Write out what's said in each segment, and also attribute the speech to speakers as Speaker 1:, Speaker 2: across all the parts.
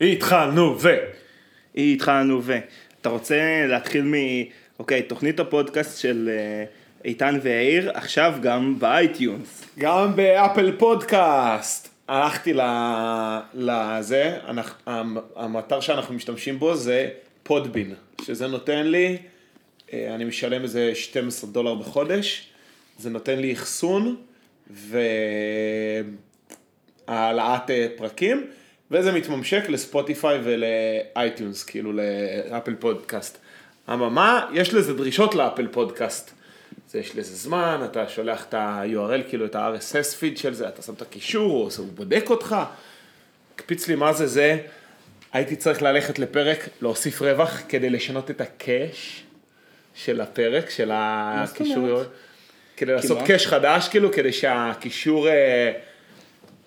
Speaker 1: התחלנו ו...
Speaker 2: התחלנו ו... אתה רוצה להתחיל מ... אוקיי, תוכנית הפודקאסט של אה, איתן ויאיר, עכשיו גם באייטיונס.
Speaker 1: גם באפל פודקאסט. הלכתי ל- לזה, אנחנו- המ- המטר שאנחנו משתמשים בו זה פודבין, שזה נותן לי, אה, אני משלם איזה 12 דולר בחודש, זה נותן לי אחסון והעלאת אה, פרקים, וזה מתממשק לספוטיפיי ולאייטיונס, כאילו לאפל פודקאסט. אממה, יש לזה דרישות לאפל פודקאסט. זה יש לזה זמן, אתה שולח את ה-URL, כאילו את ה-RSS פיד של זה, אתה שם את הקישור, הוא עושה- הוא בודק אותך. הקפיץ לי מה זה זה, הייתי צריך ללכת לפרק, להוסיף רווח כדי לשנות את הקאש של הפרק, של
Speaker 2: זאת אומרת?
Speaker 1: הקישור, כדי לעשות
Speaker 2: מה?
Speaker 1: קאש חדש, כאילו, כדי שהקישור אה,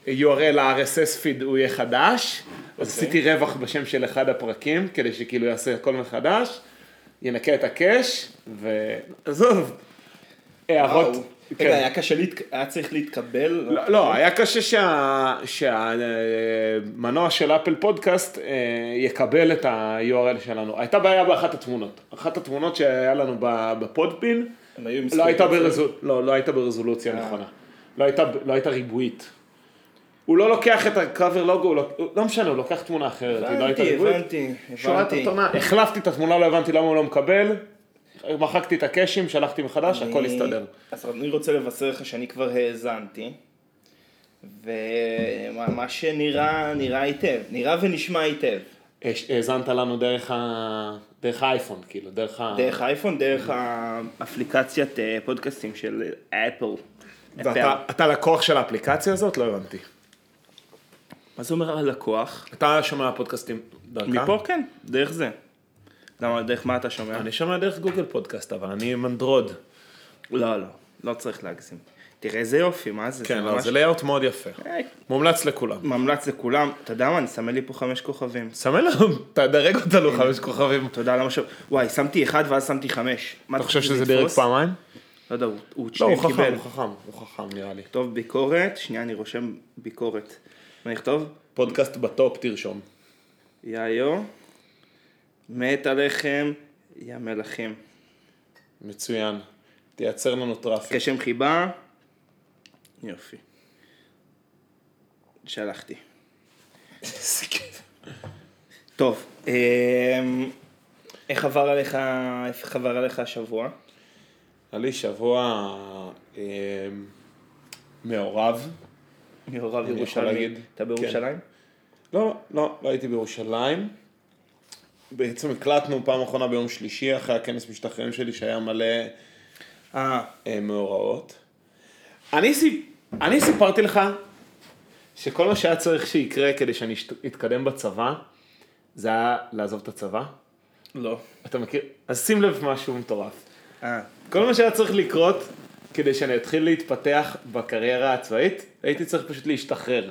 Speaker 1: URL ה-RSS פיד הוא יהיה חדש. אז
Speaker 2: אוקיי.
Speaker 1: עשיתי רווח בשם של אחד הפרקים, כדי שכאילו יעשה הכל מחדש, ינקה את הקאש, ועזוב. הערות.
Speaker 2: וואו.
Speaker 1: כן.
Speaker 2: רגע, היה קשה, להתק- היה צריך להתקבל?
Speaker 1: לא, לא, היה קשה שהמנוע שה... המנוע של אפל פודקאסט אה, יקבל את ה-URL שלנו. הייתה בעיה באחת התמונות. אחת התמונות שהיה לנו ב- בפודבין,
Speaker 2: הם היו עם
Speaker 1: לא
Speaker 2: זכויות
Speaker 1: הייתה,
Speaker 2: יוצרים.
Speaker 1: ברזול... לא, לא הייתה ברזולוציה נכונה. לא הייתה, לא הייתה ריבועית. הוא לא לוקח את הקאבר לוגו, הוא לא... הוא- לא משנה, הוא לוקח תמונה אחרת, היא לא הייתה
Speaker 2: הבנתי,
Speaker 1: ריבועית.
Speaker 2: הבנתי,
Speaker 1: שורה
Speaker 2: הבנתי.
Speaker 1: תחתונה, החלפתי את התמונה, לא הבנתי למה הוא לא מקבל, מחקתי את הקאשים, שלחתי מחדש, הכל
Speaker 2: אני-
Speaker 1: הסתדר.
Speaker 2: אז אני רוצה לבשר לך שאני כבר האזנתי, ומה מה שנראה, נראה היטב, נראה ונשמע היטב.
Speaker 1: הש- אה, האזנת לנו דרך, ה... דרך האייפון, כאילו, דרך ה...
Speaker 2: דרך האייפון, דרך האפליקציית אה, פודקאסטים של אה, אפל.
Speaker 1: ואתה אתה לקוח של האפליקציה הזאת? לא הבנתי.
Speaker 2: מה זה אומר הלקוח?
Speaker 1: אתה שומע פודקאסטים דרכה?
Speaker 2: מפה כן, דרך זה. למה, דרך מה אתה שומע?
Speaker 1: אני שומע דרך גוגל פודקאסט, אבל אני עם אנדרוד.
Speaker 2: לא, לא, לא צריך להגזים. תראה איזה יופי, מה זה?
Speaker 1: כן, אבל
Speaker 2: ממש-
Speaker 1: זה לייאאוט מאוד יפה.
Speaker 2: אה,
Speaker 1: מומלץ לכולם.
Speaker 2: ממלץ לכולם, אתה יודע מה, אני סמל לי פה חמש כוכבים.
Speaker 1: סמן לנו, תדרג אותנו חמש כוכבים.
Speaker 2: תודה למה ש... וואי, שמתי אחד ואז שמתי חמש. מה,
Speaker 1: אתה חושב
Speaker 2: חושב
Speaker 1: שזה
Speaker 2: שזה
Speaker 1: דרג
Speaker 2: יתפוס?
Speaker 1: פעמיים?
Speaker 2: לא יודע, הוא- הוא את
Speaker 1: לא,
Speaker 2: שניהם
Speaker 1: הוא חכם,
Speaker 2: קיבל.
Speaker 1: הוא חכם, הוא חכם נראה לי.
Speaker 2: טוב, ביקורת, שנייה, אני רושם ביקורת. מה נכתוב?
Speaker 1: פודקאסט בטופ תרשום.
Speaker 2: יאיו, מת עליכם, יא מלכים.
Speaker 1: מצוין. תייצר לנו טראפיק.
Speaker 2: קשם חיבה, יופי. שלחתי. טוב, אמ, איך עבר עליך, איך עבר עליך השבוע?
Speaker 1: היה לי שבוע אה, מעורב.
Speaker 2: מעורב
Speaker 1: יכול
Speaker 2: ירושלים.
Speaker 1: להגיד.
Speaker 2: אתה בירושלים?
Speaker 1: לא, לא, לא הייתי בירושלים. בעצם הקלטנו פעם אחרונה ביום שלישי אחרי הכנס משתחררים שלי שהיה מלא
Speaker 2: אה,
Speaker 1: אה, מאורעות. אני, סיפ... אני סיפרתי לך שכל מה שהיה צריך שיקרה כדי שאני אשת- אתקדם בצבא, זה היה לעזוב את הצבא.
Speaker 2: לא.
Speaker 1: אתה מכיר? אז שים לב משהו מטורף.
Speaker 2: אה,
Speaker 1: כל מה שהיה צריך לקרות כדי שאני אתחיל להתפתח בקריירה הצבאית, הייתי צריך פשוט להשתחרר.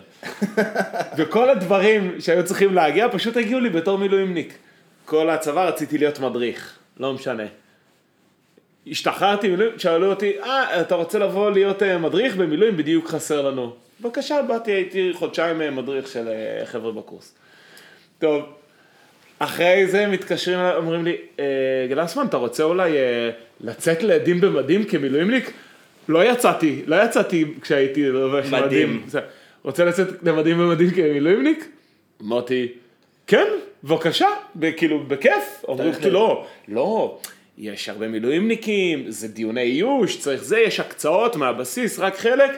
Speaker 1: וכל הדברים שהיו צריכים להגיע פשוט הגיעו לי בתור מילואימניק. כל הצבא רציתי להיות מדריך, לא משנה. השתחררתי מילואים, שאלו אותי, אה, אתה רוצה לבוא להיות אה, מדריך במילואים? בדיוק חסר לנו. בבקשה, באתי, הייתי חודשיים אה, מדריך של אה, חבר'ה בקורס. טוב, אחרי זה מתקשרים, אליי, אומרים לי, "אה, גלסמן, אתה רוצה אולי אה, לצאת לעדים במדים כמילואימניק? לא יצאתי, לא יצאתי כשהייתי לובש
Speaker 2: מדהים.
Speaker 1: מדים. זה, רוצה לצאת למדים במדים כמילואימניק? אמרתי, כן, בבקשה, וכאילו, בכיף. אומרים,
Speaker 2: צריך ל-
Speaker 1: לא, לא, יש הרבה מילואימניקים, זה דיוני איוש, צריך זה, יש הקצאות מהבסיס, רק חלק.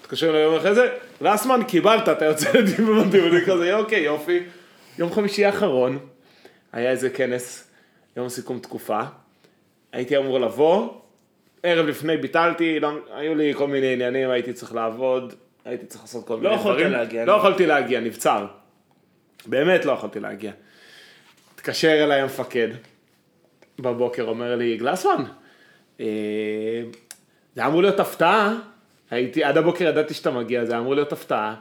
Speaker 1: מתקשר אליי יום אחרי זה, רסמן, קיבלת, אתה יוצא לדיון במדיונים כזה, אוקיי, יופי. יום חמישי האחרון, היה איזה כנס, יום סיכום תקופה, הייתי אמור לבוא, ערב לפני ביטלתי, לא, היו לי כל מיני עניינים, הייתי צריך לעבוד, הייתי צריך לעשות כל מיני
Speaker 2: יכולת
Speaker 1: דברים.
Speaker 2: להגיע,
Speaker 1: לא
Speaker 2: נו.
Speaker 1: יכולתי להגיע, נבצר. באמת לא יכולתי להגיע. התקשר אליי המפקד בבוקר, אומר לי, גלסמן, אה, זה היה אמור להיות הפתעה, הייתי, עד הבוקר ידעתי שאתה מגיע, זה היה אמור להיות הפתעה,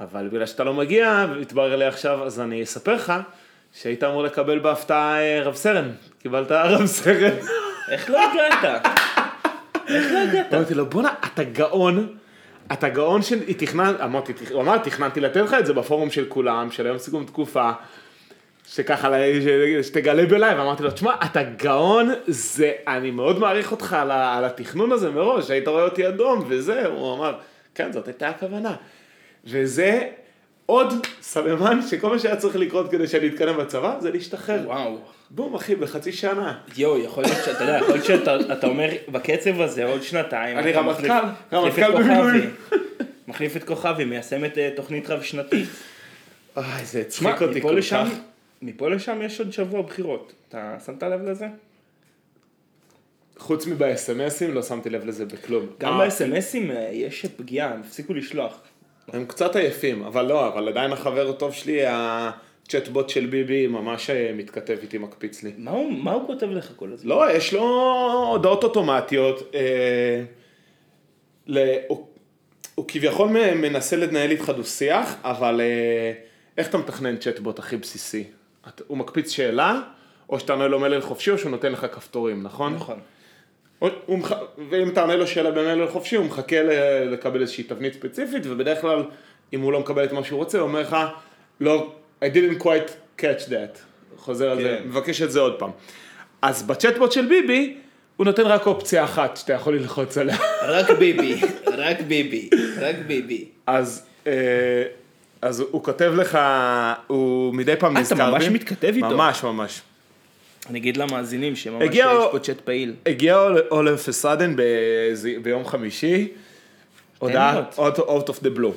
Speaker 1: אבל בגלל שאתה לא מגיע, התברר לי עכשיו, אז אני אספר לך, שהיית אמור לקבל בהפתעה אה, רב סרן, קיבלת רב סרן.
Speaker 2: איך לא הגעת?
Speaker 1: אמרתי לו, בואנה, אתה גאון, אתה גאון של... היא תכנן... אמרתי, תכ- הוא אמר, תכננתי לתת לך את זה בפורום של כולם, של היום סיכום תקופה, שככה, ל- ש- שתגלה בלייב, אמרתי לו, תשמע, אתה גאון, זה... אני מאוד מעריך אותך על, ה... על התכנון הזה מראש, היית רואה אותי אדום, וזה, הוא אמר, כן, זאת הייתה הכוונה. וזה עוד סממן שכל מה שהיה צריך לקרות כדי שאני אתקדם בצבא, זה להשתחרר.
Speaker 2: וואו.
Speaker 1: בום, אחי, בחצי שנה.
Speaker 2: יואו, יכול להיות שאתה יודע, יכול להיות שאתה אתה אומר, בקצב הזה עוד שנתיים.
Speaker 1: אני
Speaker 2: אתה
Speaker 1: רמטכ"ל,
Speaker 2: מחליף-
Speaker 1: רמטכ"ל
Speaker 2: מחליף את
Speaker 1: במילואים.
Speaker 2: כוכבי. מחליף את כוכבי, מיישם את אה, תוכנית רב שנתית.
Speaker 1: אוי, זה
Speaker 2: תשמע,
Speaker 1: הצחיק אותי
Speaker 2: מפה
Speaker 1: כל
Speaker 2: לשם-
Speaker 1: כך.
Speaker 2: מפה לשם יש עוד שבוע בחירות. אתה שמת לב
Speaker 1: אה,
Speaker 2: לזה?
Speaker 1: חוץ מבאסמסים, לא שמתי לב לזה בכלום.
Speaker 2: גם
Speaker 1: אה,
Speaker 2: באס.אם.אסים יש פגיעה, הם הפסיקו לשלוח.
Speaker 1: הם קצת עייפים, אבל לא, אבל עדיין החבר הטוב שלי, הצ'טבוט של ביבי, ממש אה, מתכתב איתי, מקפיץ לי.
Speaker 2: מה הוא מה הוא כותב לך כל הזמן?
Speaker 1: לא, יש לו הודעות אוטומטיות. אה, ל... הוא, הוא כביכול מ- מנסה לנהל איתך דו-שיח, אבל אה, איך אתה מתכנן צ'טבוט הכי בסיסי? את, הוא מקפיץ שאלה, או שאתה עונה לו מלל חופשי, או שהוא נותן לך כפתורים, נכון?
Speaker 2: נכון.
Speaker 1: הוא- הוא מח... ואם אתה עונה לו שאלה במייל חופשי, הוא מחכה ל... לקבל איזושהי תבנית ספציפית, ובדרך כלל, אם הוא לא מקבל את מה שהוא רוצה, הוא אומר לך, לא, I didn't quite catch that. חוזר על זה,
Speaker 2: כן.
Speaker 1: מבקש את זה עוד פעם. אז בצ'טבוט של ביבי, הוא נותן רק אופציה אחת שאתה יכול ללחוץ עליה.
Speaker 2: רק ביבי, רק ביבי, רק ביבי.
Speaker 1: אז, אה, אז הוא כותב לך, הוא מדי פעם
Speaker 2: אה, אתה
Speaker 1: נזכר
Speaker 2: ממש
Speaker 1: בי.
Speaker 2: מתכתב איתו.
Speaker 1: ממש, ממש.
Speaker 2: אני אגיד למאזינים שממש
Speaker 1: הגיע-
Speaker 2: יש פה צ'אט פעיל.
Speaker 1: הגיע אול- אולף סאדן באיזה- ביום חמישי, הודעה
Speaker 2: תן
Speaker 1: out, out of the blue.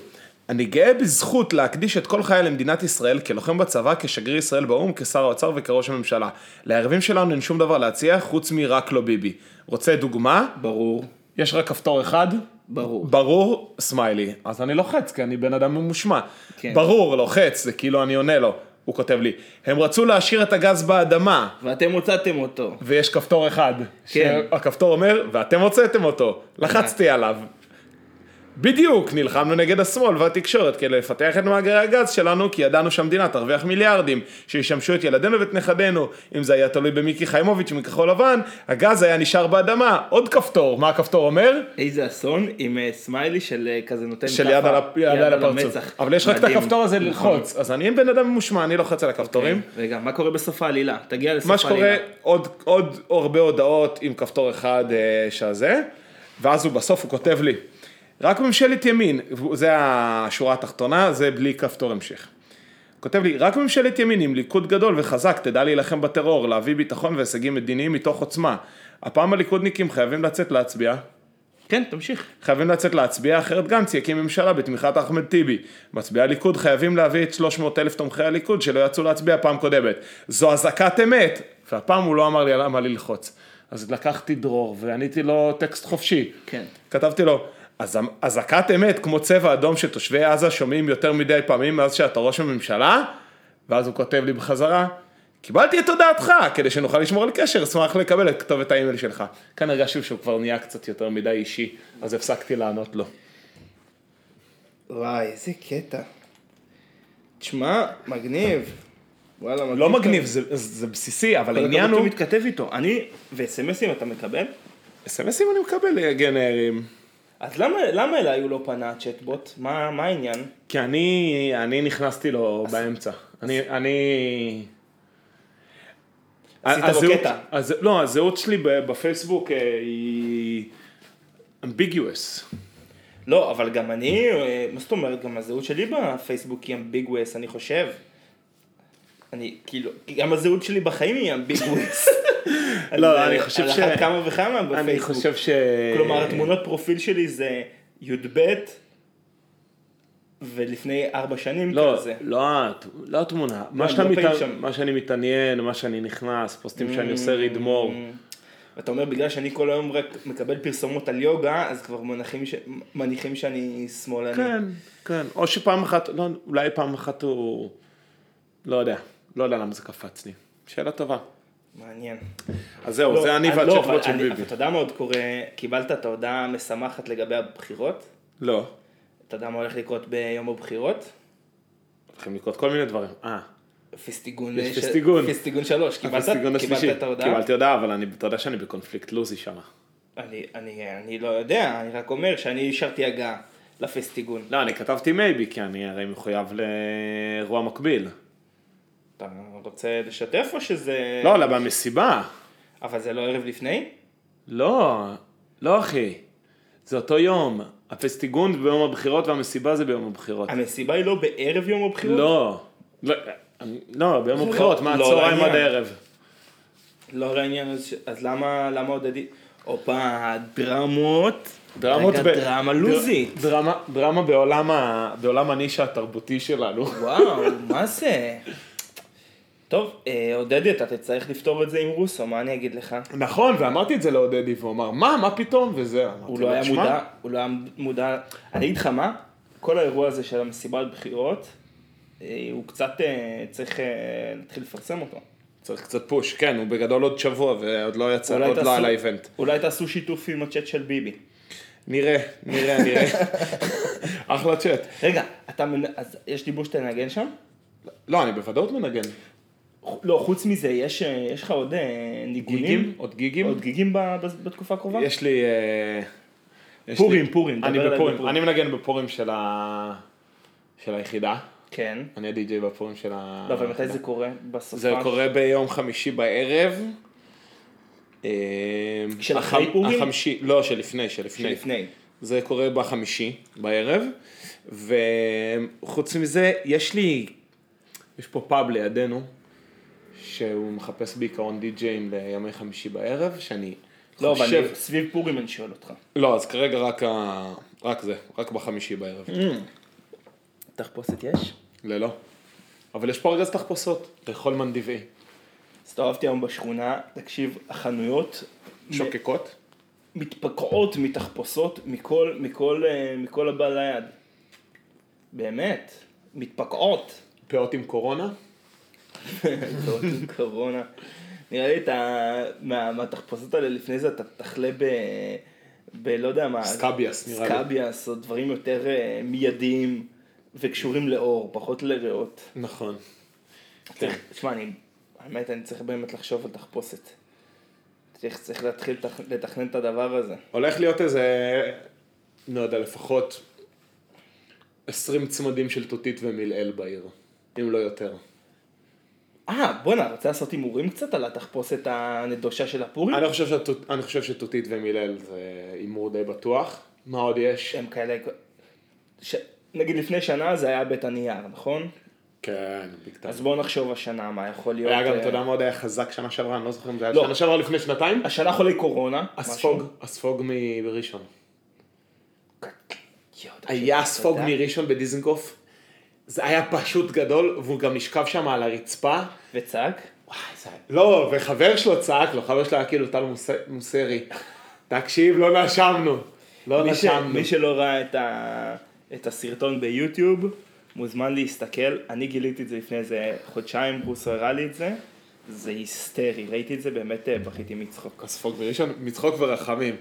Speaker 1: אני גאה בזכות להקדיש את כל חיי למדינת ישראל, כלוחם בצבא, כשגריר ישראל באו"ם, כשר האוצר וכראש הממשלה. ליריבים שלנו אין שום דבר להציע, חוץ מרק לא ביבי. רוצה דוגמה?
Speaker 2: ברור,
Speaker 1: יש רק כפתור אחד,
Speaker 2: ברור.
Speaker 1: ברור, סמיילי. אז אני לוחץ, כי אני בן אדם ממושמע.
Speaker 2: כן.
Speaker 1: ברור, לוחץ, זה כאילו אני עונה לו. הוא כותב לי, הם רצו להשאיר את הגז באדמה,
Speaker 2: ואתם הוצאתם אותו.
Speaker 1: ויש כפתור אחד.
Speaker 2: כן. אה.
Speaker 1: שהכפתור אומר, ואתם הוצאתם אותו, לחצתי עליו. בדיוק, נלחמנו נגד השמאל והתקשורת כדי לפתח את מאגרי הגז שלנו, כי ידענו שהמדינה תרוויח מיליארדים, שישמשו את ילדינו ואת נכדינו. אם זה היה תלוי במיקי חיימוביץ' מכחול לבן, הגז היה נשאר באדמה. עוד כפתור, מה הכפתור אומר?
Speaker 2: איזה אסון עם אה, סמיילי של אה, כזה נותן
Speaker 1: של
Speaker 2: ככה,
Speaker 1: יד על הפ- יד על הפרצוף.
Speaker 2: המצח.
Speaker 1: אבל יש רק את
Speaker 2: מדהים.
Speaker 1: הכפתור הזה
Speaker 2: נכון. אוקיי.
Speaker 1: ללחוץ. אז אני בן אדם ממושמע, אני לוחץ על הכפתורים.
Speaker 2: רגע, מה קורה בסוף העלילה? תגיע לסוף
Speaker 1: מה
Speaker 2: העלילה.
Speaker 1: שקורה, עוד, עוד הרבה הודעות עם כפתור אחד אה, שהזה, ואז הוא בסוף, הוא כותב לי, רק ממשלת ימין, זה השורה התחתונה, זה בלי כפתור המשך. הוא כותב לי, רק ממשלת ימין עם ליכוד גדול וחזק תדע להילחם בטרור, להביא ביטחון והישגים מדיניים מתוך עוצמה. הפעם הליכודניקים חייבים לצאת להצביע,
Speaker 2: כן, תמשיך.
Speaker 1: חייבים לצאת להצביע, אחרת גנץ יקים ממשלה בתמיכת אחמד טיבי. מצביעי הליכוד חייבים להביא את 300 אלף תומכי הליכוד שלא יצאו להצביע פעם קודמת. זו אזעקת אמת! והפעם הוא לא אמר לי על מה ללחוץ. אז לקחתי דרור ועניתי לו טקסט חופשי.
Speaker 2: כן.
Speaker 1: כתבתי לו, "אז- אזעקת אמת כמו צבע אדום שתושבי עזה שומעים יותר מדי פעמים מאז שאתה ראש הממשלה? ואז הוא כותב לי בחזרה, קיבלתי את הודעתך, כדי שנוכל לשמור על קשר, אשמח לקבל את כתובת האימייל שלך. כאן הרגשתי שהוא כבר נהיה קצת יותר מדי אישי, אז הפסקתי לענות לו.
Speaker 2: וואי, איזה קטע. תשמע, מגניב. וואלה, מגניב.
Speaker 1: לא מגניב, זה, זה בסיסי, אבל
Speaker 2: אבל
Speaker 1: העניין הוא...
Speaker 2: מתכתב איתו. אני, וסמסים אתה מקבל?
Speaker 1: אסמסים אני מקבל אה, גנרים.
Speaker 2: אז למה, למה אליי הוא לא פנה הצ'טבוט? מה, מה העניין?
Speaker 1: כי אני, אני נכנסתי לו באמצע. אני, אני...
Speaker 2: עשית לו
Speaker 1: הזהות-
Speaker 2: קטע.
Speaker 1: הז- לא, הזהות שלי ב- בפייסבוק אה, היא אמביגיוס.
Speaker 2: לא, אבל גם אני, אה, מה זאת אומרת, גם הזהות שלי בפייסבוק היא אמביגווס, אני חושב. אני, כאילו, גם הזהות שלי בחיים היא אמביגווס.
Speaker 1: לא, אני חושב ש-
Speaker 2: על אחת כמה וכמה בפייסבוק.
Speaker 1: אני חושב ש... אה,
Speaker 2: כלומר, התמונות פרופיל שלי זה י"ב, ולפני ארבע שנים
Speaker 1: לא,
Speaker 2: כזה.
Speaker 1: לא, הת- לא התמונה, מה,
Speaker 2: אני
Speaker 1: שאתה
Speaker 2: לא פעיל
Speaker 1: מתע-
Speaker 2: שם.
Speaker 1: מה שאני מתעניין, מה שאני נכנס, פוסטים שאני עושה
Speaker 2: Mm.
Speaker 1: רידמור,
Speaker 2: אתה אומר, בגלל שאני כל היום רק מקבל פרסומות על יוגה, אז כבר מנחים ש- מניחים שאני שמאלני.
Speaker 1: כן, כן, או שפעם אחת, לא, אולי פעם אחת הוא, לא יודע, לא יודע למה זה קפץ לי, שאלה טובה.
Speaker 2: מעניין.
Speaker 1: אז זהו,
Speaker 2: לא,
Speaker 1: זה אני
Speaker 2: לא, אבל
Speaker 1: והצ'טבוט של
Speaker 2: אני-
Speaker 1: ביבי.
Speaker 2: אבל אתה יודע מה עוד קורה? קיבלת את ההודעה המשמחת לגבי הבחירות?
Speaker 1: לא.
Speaker 2: אתה יודע מה הולך לקרות ביום הבחירות?
Speaker 1: הולכים לקרות כל מיני דברים. אה,
Speaker 2: פסטיגון... אה,
Speaker 1: יש
Speaker 2: ש-
Speaker 1: פסטיגון.
Speaker 2: פסטיגון שלוש. קיבלת
Speaker 1: הפסטיגון השלישי.
Speaker 2: קיבלת את ההודעה?
Speaker 1: קיבלתי הודעה, אבל אני, אתה יודע שאני בקונפליקט לוזי שם.
Speaker 2: אני- אני אני לא יודע, אני רק אומר שאני אישרתי הגעה. לפסטיגון.
Speaker 1: לא, אני כתבתי מייבי, כי אני הרי מחויב לאירוע מקביל.
Speaker 2: כן. אתה רוצה לשתף או שזה...
Speaker 1: לא, אלא במסיבה.
Speaker 2: אבל זה לא ערב לפני?
Speaker 1: לא, לא אחי. זה אותו יום. הפסטיגון ביום הבחירות והמסיבה זה ביום הבחירות.
Speaker 2: המסיבה היא לא בערב יום הבחירות?
Speaker 1: לא. לא, אני- לא, ביום הבחירות, מה
Speaker 2: לא
Speaker 1: הצהריים
Speaker 2: לעניין.
Speaker 1: עד הערב.
Speaker 2: לא הרי העניין, אז, ש- אז למה, למה עוד עדי... הופה, דרמות.
Speaker 1: דרמות
Speaker 2: רגע,
Speaker 1: ב-
Speaker 2: דרמה לוזית.
Speaker 1: דר- דרמה- דרמה בעולם ה- בעולם הנישה התרבותי שלנו.
Speaker 2: וואו, מה זה? טוב, אה, עודדי, אתה תצטרך לפתור את זה עם רוסו, מה אני אגיד לך?
Speaker 1: נכון, ואמרתי את זה לעודדי, והוא אמר, מה, מה פתאום, וזה. אמרתי
Speaker 2: הוא
Speaker 1: לו,
Speaker 2: לא היה
Speaker 1: "תשמע,
Speaker 2: מודע, הוא לא היה מודע, אני אגיד לך מה, כל האירוע הזה של המסיבת בחירות, אה, הוא קצת אה, צריך אה, להתחיל לפרסם אותו.
Speaker 1: צריך קצת פוש, כן, הוא בגדול עוד שבוע, ועוד לא יצא,
Speaker 2: אולי
Speaker 1: עוד לא
Speaker 2: תעשו-
Speaker 1: על האיבנט.
Speaker 2: אולי תעשו שיתוף עם הצ'אט של ביבי.
Speaker 1: נראה, נראה, נראה. אחלה צ'אט.
Speaker 2: רגע, אתה, מנ- אז יש לי בוש תנגן שם?
Speaker 1: לא, אני בוודאות מנגן.
Speaker 2: לא, חוץ מזה, יש אה, יש לך עוד אה, ניגונים?
Speaker 1: גיגים? עוד גיגים?
Speaker 2: עוד גיגים ב- ב- בתקופה הקרובה?
Speaker 1: יש לי... אה, יש
Speaker 2: פורים,
Speaker 1: לי-
Speaker 2: פורים,
Speaker 1: אני
Speaker 2: דבר אליי
Speaker 1: בפורים.
Speaker 2: בפורים.
Speaker 1: אני מנגן בפורים של ה... של היחידה.
Speaker 2: כן.
Speaker 1: אני הדי-ג'יי בפורים של ה...
Speaker 2: לא, אבל מתי זה קורה? בסופה?
Speaker 1: זה קורה ביום חמישי בערב. אה,
Speaker 2: של
Speaker 1: הח-
Speaker 2: אחרי פורים?
Speaker 1: החמישי, לא, שלפני, שלפני.
Speaker 2: שלפני.
Speaker 1: זה קורה בחמישי בערב, וחוץ מזה, יש לי, יש פה פאב לידינו, שהוא מחפש בעיקרון די-ג'אים לימי חמישי בערב, שאני
Speaker 2: לא, אבל
Speaker 1: חושב...
Speaker 2: אני- סביב פורים אני שואל אותך.
Speaker 1: לא, אז כרגע רק, ה... רק זה, רק בחמישי בערב,
Speaker 2: Mm. תחפושת יש?
Speaker 1: ללא. אבל יש פה ארגז תחפושות, לאכול מנדיבי.
Speaker 2: הסתובבתי היום בשכונה, תקשיב, החנויות
Speaker 1: שוקקות?
Speaker 2: מתפקעות מתחפושות מכל, מכל, אה, מכל הבא ליד. באמת, מתפקעות.
Speaker 1: פאות עם קורונה?
Speaker 2: זאת קורונה. נראה לי את ה... מה- מהתחפושות האלה לפני זה אתה תחלה ב... בלא יודע מה.
Speaker 1: סקאביאס, נראה לי.
Speaker 2: סקאביאס, או דברים יותר אה, מיידיים וקשורים לאור, פחות לריאות.
Speaker 1: נכון.
Speaker 2: צריך, תשמע, אני, האמת, אני צריך באמת לחשוב על תחפושת. צריך, צריך להתחיל לתכ- לתכנן את הדבר הזה.
Speaker 1: הולך להיות איזה, לא יודע, לפחות 20 צמדים של תותית ומלעיל בעיר, אם לא יותר.
Speaker 2: אה, בואנה, רוצה לעשות הימורים קצת על התחפושת הנדושה של הפורים?
Speaker 1: אני לא חושב, שהתות, אני חושב שתותית ומילאל זה הימור די בטוח. מה עוד יש?
Speaker 2: הם כאלה... ש... נגיד לפני שנה זה היה בית הנייר, נכון?
Speaker 1: כן, בקטן.
Speaker 2: אז בואו נחשוב השנה מה יכול להיות.
Speaker 1: היה גם,
Speaker 2: אה,
Speaker 1: אתה יודע מה עוד היה חזק שנה שעברה, אני לא זוכר אם זה היה
Speaker 2: לא.
Speaker 1: שנה שעברה לפני שנתיים?
Speaker 2: השנה חולי קורונה.
Speaker 1: הספוג,
Speaker 2: משהו.
Speaker 1: הספוג מראשון.
Speaker 2: יואו, אתה
Speaker 1: היה
Speaker 2: יודע.
Speaker 1: ספוג מראשון בדיזנגוף. זה היה פשוט גדול, והוא גם נשכב שם על הרצפה.
Speaker 2: וצעק?
Speaker 1: וואי, זה... לא, וחבר שלו צעק לו, חבר שלו היה כאילו טל מוס- מוסרי. תקשיב, לא נשמנו. לא
Speaker 2: מי, ש...
Speaker 1: נשמנו.
Speaker 2: מי שלא ראה את, ה... את הסרטון ביוטיוב, מוזמן להסתכל. אני גיליתי את זה לפני איזה חודשיים, בוסו הראה לי את זה. זה היסטרי, ראיתי את זה, באמת אה, בכיתי מצחוק.
Speaker 1: הספוג בראשון, מצחוק ורחמים.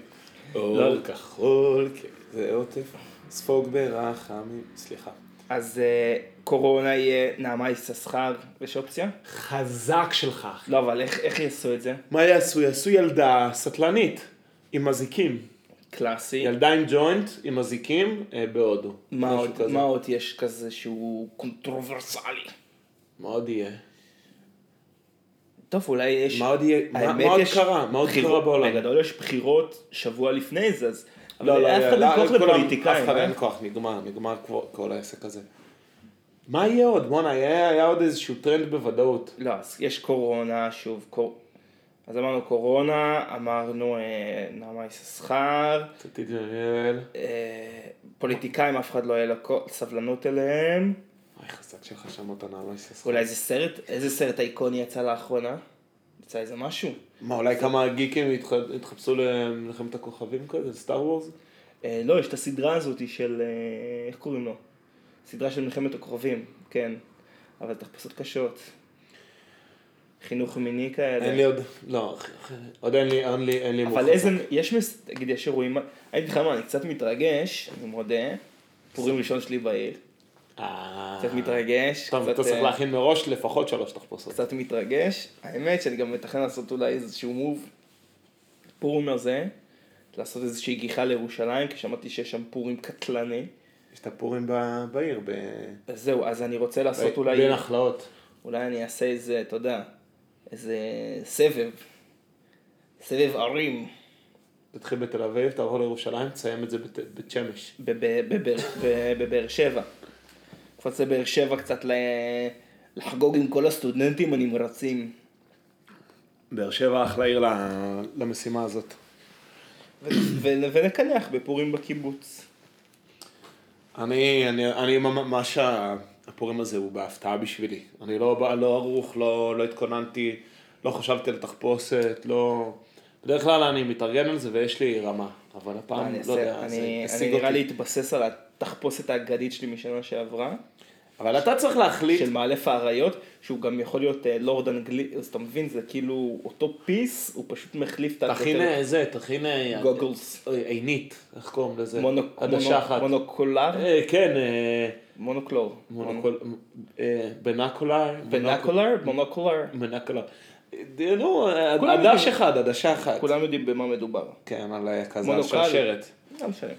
Speaker 2: לא.
Speaker 1: אור כחול, כ- זה עוטף, ספוג ברחמים, סליחה.
Speaker 2: אז אה, קורונה יהיה נעמה יששכר, יש אופציה?
Speaker 1: חזק שלך, אחי.
Speaker 2: לא, אבל איך, איך יעשו את זה?
Speaker 1: מה יעשו? יעשו ילדה סטלנית, עם אזיקים.
Speaker 2: קלאסי.
Speaker 1: ילדה עם ג'וינט, עם אזיקים, אה, בהודו.
Speaker 2: מה
Speaker 1: משהו
Speaker 2: עוד,
Speaker 1: כזה.
Speaker 2: מה עוד יש כזה שהוא קונטרוברסלי?
Speaker 1: מה עוד יהיה?
Speaker 2: טוב, אולי יש...
Speaker 1: מה עוד יהיה? מה-
Speaker 2: האמת,
Speaker 1: מה עוד
Speaker 2: יש
Speaker 1: קרה? מה עוד
Speaker 2: בחירות-
Speaker 1: קרה בעולם?
Speaker 2: בגדול יש בחירות שבוע לפני זה, אז...
Speaker 1: לא,
Speaker 2: אבל
Speaker 1: לא,
Speaker 2: אף אחד
Speaker 1: לא,
Speaker 2: אין כוח
Speaker 1: לא, כולם-
Speaker 2: לפוליטיקאים.
Speaker 1: אף אחד
Speaker 2: אה?
Speaker 1: אין כוח, נגמר, נגמר כבר כל העסק הזה. מה יהיה עוד? בואנה, היה היה עוד איזשהו טרנד בוודאות.
Speaker 2: לא, אז יש קורונה, שוב, קור... אז אמרנו קורונה, אמרנו אה, נעמה יששכר,
Speaker 1: תתיד ואל.
Speaker 2: אה, פוליטיקאים, אף אחד לא יהיה לו כל- סבלנות אליהם.
Speaker 1: אוי, חזק שלך שם אותה נעמה יססך.
Speaker 2: אולי איזה סרט, איזה סרט אייקוני יצא לאחרונה? יצא איזה משהו?
Speaker 1: מה, אולי כמה גיקים התח- התחפשו למלחמת הכוכבים כזה, סטאר וורס?
Speaker 2: אה, לא, יש את הסדרה הזאת של, אה, איך קוראים לו? סדרה של מלחמת הכוכבים, כן. אבל תחפושות קשות. חינוך מיני כאלה.
Speaker 1: אין לי עוד, לא, אחי, עוד אין לי, אין לי, אין לי
Speaker 2: אבל
Speaker 1: מוחזק.
Speaker 2: איזה, יש, מס... תגיד, יש אירועים, אני אגיד לך מה, אני קצת מתרגש, אני מודה, פורים ראשון שלי בעיר,
Speaker 1: אה.
Speaker 2: קצת מתרגש,
Speaker 1: טוב, אתה
Speaker 2: קצת,
Speaker 1: צריך
Speaker 2: אה,
Speaker 1: להכין מראש לפחות שלוש תחפושות.
Speaker 2: קצת מתרגש, האמת שאני גם מתכנן לעשות אולי איזשהו מוב, פורים הזה, לעשות איזושהי גיחה לירושלים, כי שמעתי שיש שם פורים קטלני,
Speaker 1: יש את הפורים ב- בעיר, ב...
Speaker 2: אז זהו, אז אני רוצה לעשות
Speaker 1: ב-
Speaker 2: אולי,
Speaker 1: בין הכלאות.
Speaker 2: אולי אני אעשה איזה, אתה יודע, איזה סבב. סבב ערים.
Speaker 1: תתחיל בתל אביב, תעבור לירושלים, תסיים את זה בת- בית שמש.
Speaker 2: בב- בבאר- ב- בבאר שבע. קפוץ לבאר שבע קצת ל- לחגוג עם כל הסטודנטים הנמרצים.
Speaker 1: באר שבע אחלה עיר ל- למשימה הזאת.
Speaker 2: ו- ו- ונקנח בפורים בקיבוץ.
Speaker 1: אני, אני, אני ממש, ה- הפורים הזה הוא בהפתעה בשבילי. אני לא, בא- לא ערוך, לא, לא התכוננתי, לא חשבתי על תחפושת, לא... בדרך כלל אני מתארגן על זה ויש לי רמה, אבל הפעם,
Speaker 2: אני
Speaker 1: לא יודע,
Speaker 2: אעשה-
Speaker 1: זה
Speaker 2: אני אני
Speaker 1: השיג
Speaker 2: נראה לי
Speaker 1: אותי.
Speaker 2: אתבסס על התחפושת האגדית שלי משנה שעברה,
Speaker 1: אבל אתה צריך להחליט,
Speaker 2: של מאלף האריות, שהוא גם יכול להיות אה, לורד אנגלי, אז אתה מבין, זה כאילו אותו פיס, הוא פשוט מחליף את
Speaker 1: תכין
Speaker 2: את-
Speaker 1: אה, זה, תכין... אה,
Speaker 2: גוגלס.
Speaker 1: אוי, עינית, איך קוראים לזה?
Speaker 2: מונו-
Speaker 1: אה, עדשה
Speaker 2: מונו-
Speaker 1: אחת.
Speaker 2: מונוקולר,
Speaker 1: אה, כן, אה,
Speaker 2: מונוקלור,
Speaker 1: מונוקול... אה, בנקולר?
Speaker 2: בנקולר, מונוקולר,
Speaker 1: בנקולר. אה, נו,
Speaker 2: כולם
Speaker 1: עדש
Speaker 2: יודעים.
Speaker 1: אחד, עדשה אחת.
Speaker 2: כולם יודעים במה מדובר,
Speaker 1: כן, על אה, כזה על
Speaker 2: מונוקל.
Speaker 1: שרשרת.
Speaker 2: לא משנה.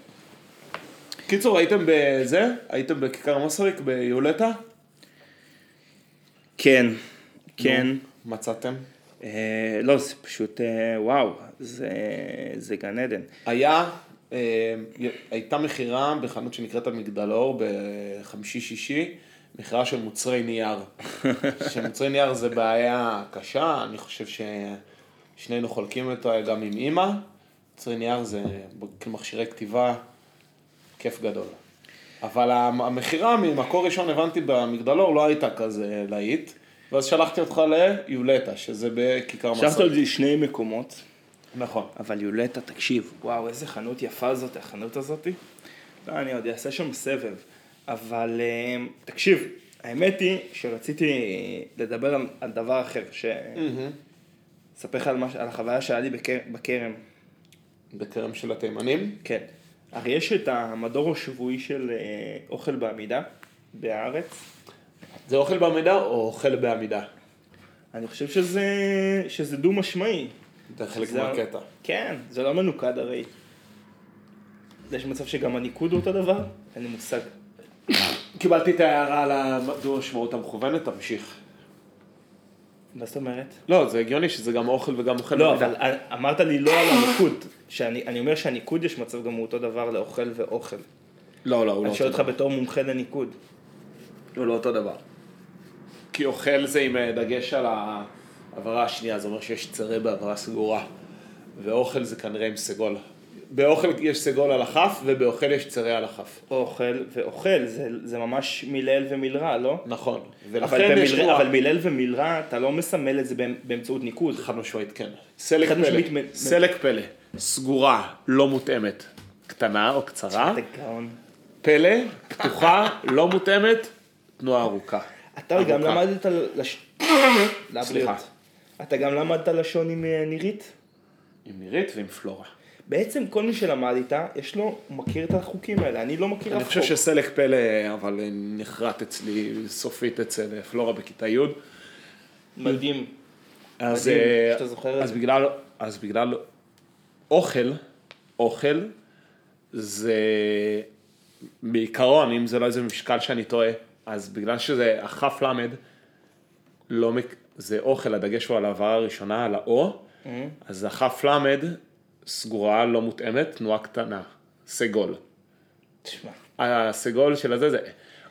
Speaker 1: קיצור, הייתם בזה? הייתם בכיכר מסריק ביולטה?
Speaker 3: כן, כן.
Speaker 1: מצאתם?
Speaker 3: אה, לא, זה פשוט, אה, וואו, זה, זה גן עדן.
Speaker 2: לא
Speaker 1: היה, אה, הייתה מכירה בחנות שנקראת המגדלור בחמישי-שישי, מכירה של מוצרי נייר. שמוצרי נייר זה בעיה קשה, אני חושב ששנינו חולקים אותה גם עם אימא. מוצרי נייר זה מכשירי כתיבה, כיף גדול. אבל המ- המכירה ממקור ראשון הבנתי במגדלור לא הייתה כזה להיט, ואז שלחתי אותך ליולטה, שזה בכיכר מסריק.
Speaker 3: שלחת אותי שני מקומות,
Speaker 1: נכון.
Speaker 3: אבל יולטה, תקשיב,
Speaker 2: וואו, איזה חנות יפה זאת, החנות הזאתי. לא, אני עוד אעשה שם סבב. אבל אה, תקשיב, האמת היא שרציתי אה, לדבר על, על דבר אחר, ש...
Speaker 3: Mm.
Speaker 2: אספר לך על, מה, ש- על החוויה שהיה לי בקר, בכרם.
Speaker 1: בכרם של התימנים.
Speaker 2: כן. הרי יש את המדור השבועי של אה, אוכל בעמידה, בארץ.
Speaker 1: זה אוכל בעמידה או אוכל בעמידה?
Speaker 2: אני חושב שזה, שזה דו משמעי.
Speaker 1: זה חלק
Speaker 2: זה-
Speaker 1: מהקטע.
Speaker 2: כן, זה לא מנוקד הרי. יש מצב שגם הניקוד הוא אותו דבר? אין לי מושג.
Speaker 1: קיבלתי את ההערה על הדו-משמעות המכוונת, תמשיך.
Speaker 2: מה זאת אומרת?
Speaker 1: לא, זה הגיוני שזה גם אוכל וגם אוכל
Speaker 2: לא,
Speaker 1: בעמידה.
Speaker 2: אבל אמרת לי לא על הניקוד. שאני אני אומר שהניקוד יש מצב גם הוא אותו דבר לאוכל ואוכל.
Speaker 1: לא, לא, הוא לא
Speaker 2: אני שואל אותך בתור מומחה לניקוד.
Speaker 1: הוא לא אותו דבר. כי אוכל זה עם אה, דגש על העברה השנייה, זה אומר שיש צרה בעברה סגורה. ואוכל זה כנראה עם סגול. באוכל יש סגול על הכף, ובאוכל יש צרה על הכף.
Speaker 2: אוכל ואוכל, זה, זה ממש מילאל ומילרע, לא?
Speaker 1: נכון.
Speaker 2: אבל,
Speaker 1: ולכן יש
Speaker 2: במילרע,
Speaker 1: רוח.
Speaker 2: אבל מילאל ומילרע, אתה לא מסמל את זה באמ- באמצעות ניקוד.
Speaker 1: חד משמעית, כן. סלק
Speaker 2: חד משמעית,
Speaker 1: פלא.
Speaker 2: מ-
Speaker 1: סלק פלא. סגורה, לא מותאמת. קטנה או קצרה.
Speaker 2: אתה גאון.
Speaker 1: פלא, פתוחה, לא מותאמת, תנועה ארוכה.
Speaker 2: אתה
Speaker 1: ארוכה.
Speaker 2: גם למדת לש...
Speaker 1: סליחה.
Speaker 2: לבריאות. אתה גם למדת לשון עם אה, נירית?
Speaker 1: עם נירית ועם פלורה.
Speaker 2: בעצם כל מי שלמד איתה, יש לו, הוא מכיר את החוקים האלה, אני לא מכיר
Speaker 1: אני
Speaker 2: אף
Speaker 1: חושב
Speaker 2: חוק.
Speaker 1: שסלק פלא, אבל נחרט אצלי סופית אצל אה, פלורה בכיתה י'.
Speaker 2: מדהים.
Speaker 1: אז,
Speaker 2: מדהים
Speaker 1: אה,
Speaker 2: שאתה זוכר את
Speaker 1: אז
Speaker 2: זה.
Speaker 1: בגלל, אז בגלל אוכל, אוכל, זה בעיקרון, אם זה לא איזה משקל שאני טועה, אז בגלל שזה הכף למד, לא, מק- זה אוכל, הדגש הוא על ההעברה הראשונה, על האו,
Speaker 2: Mm-hmm.
Speaker 1: אז הכף למד סגורה, לא מותאמת, תנועה קטנה, סגול.
Speaker 2: תשמע,
Speaker 1: הסגול של הזה זה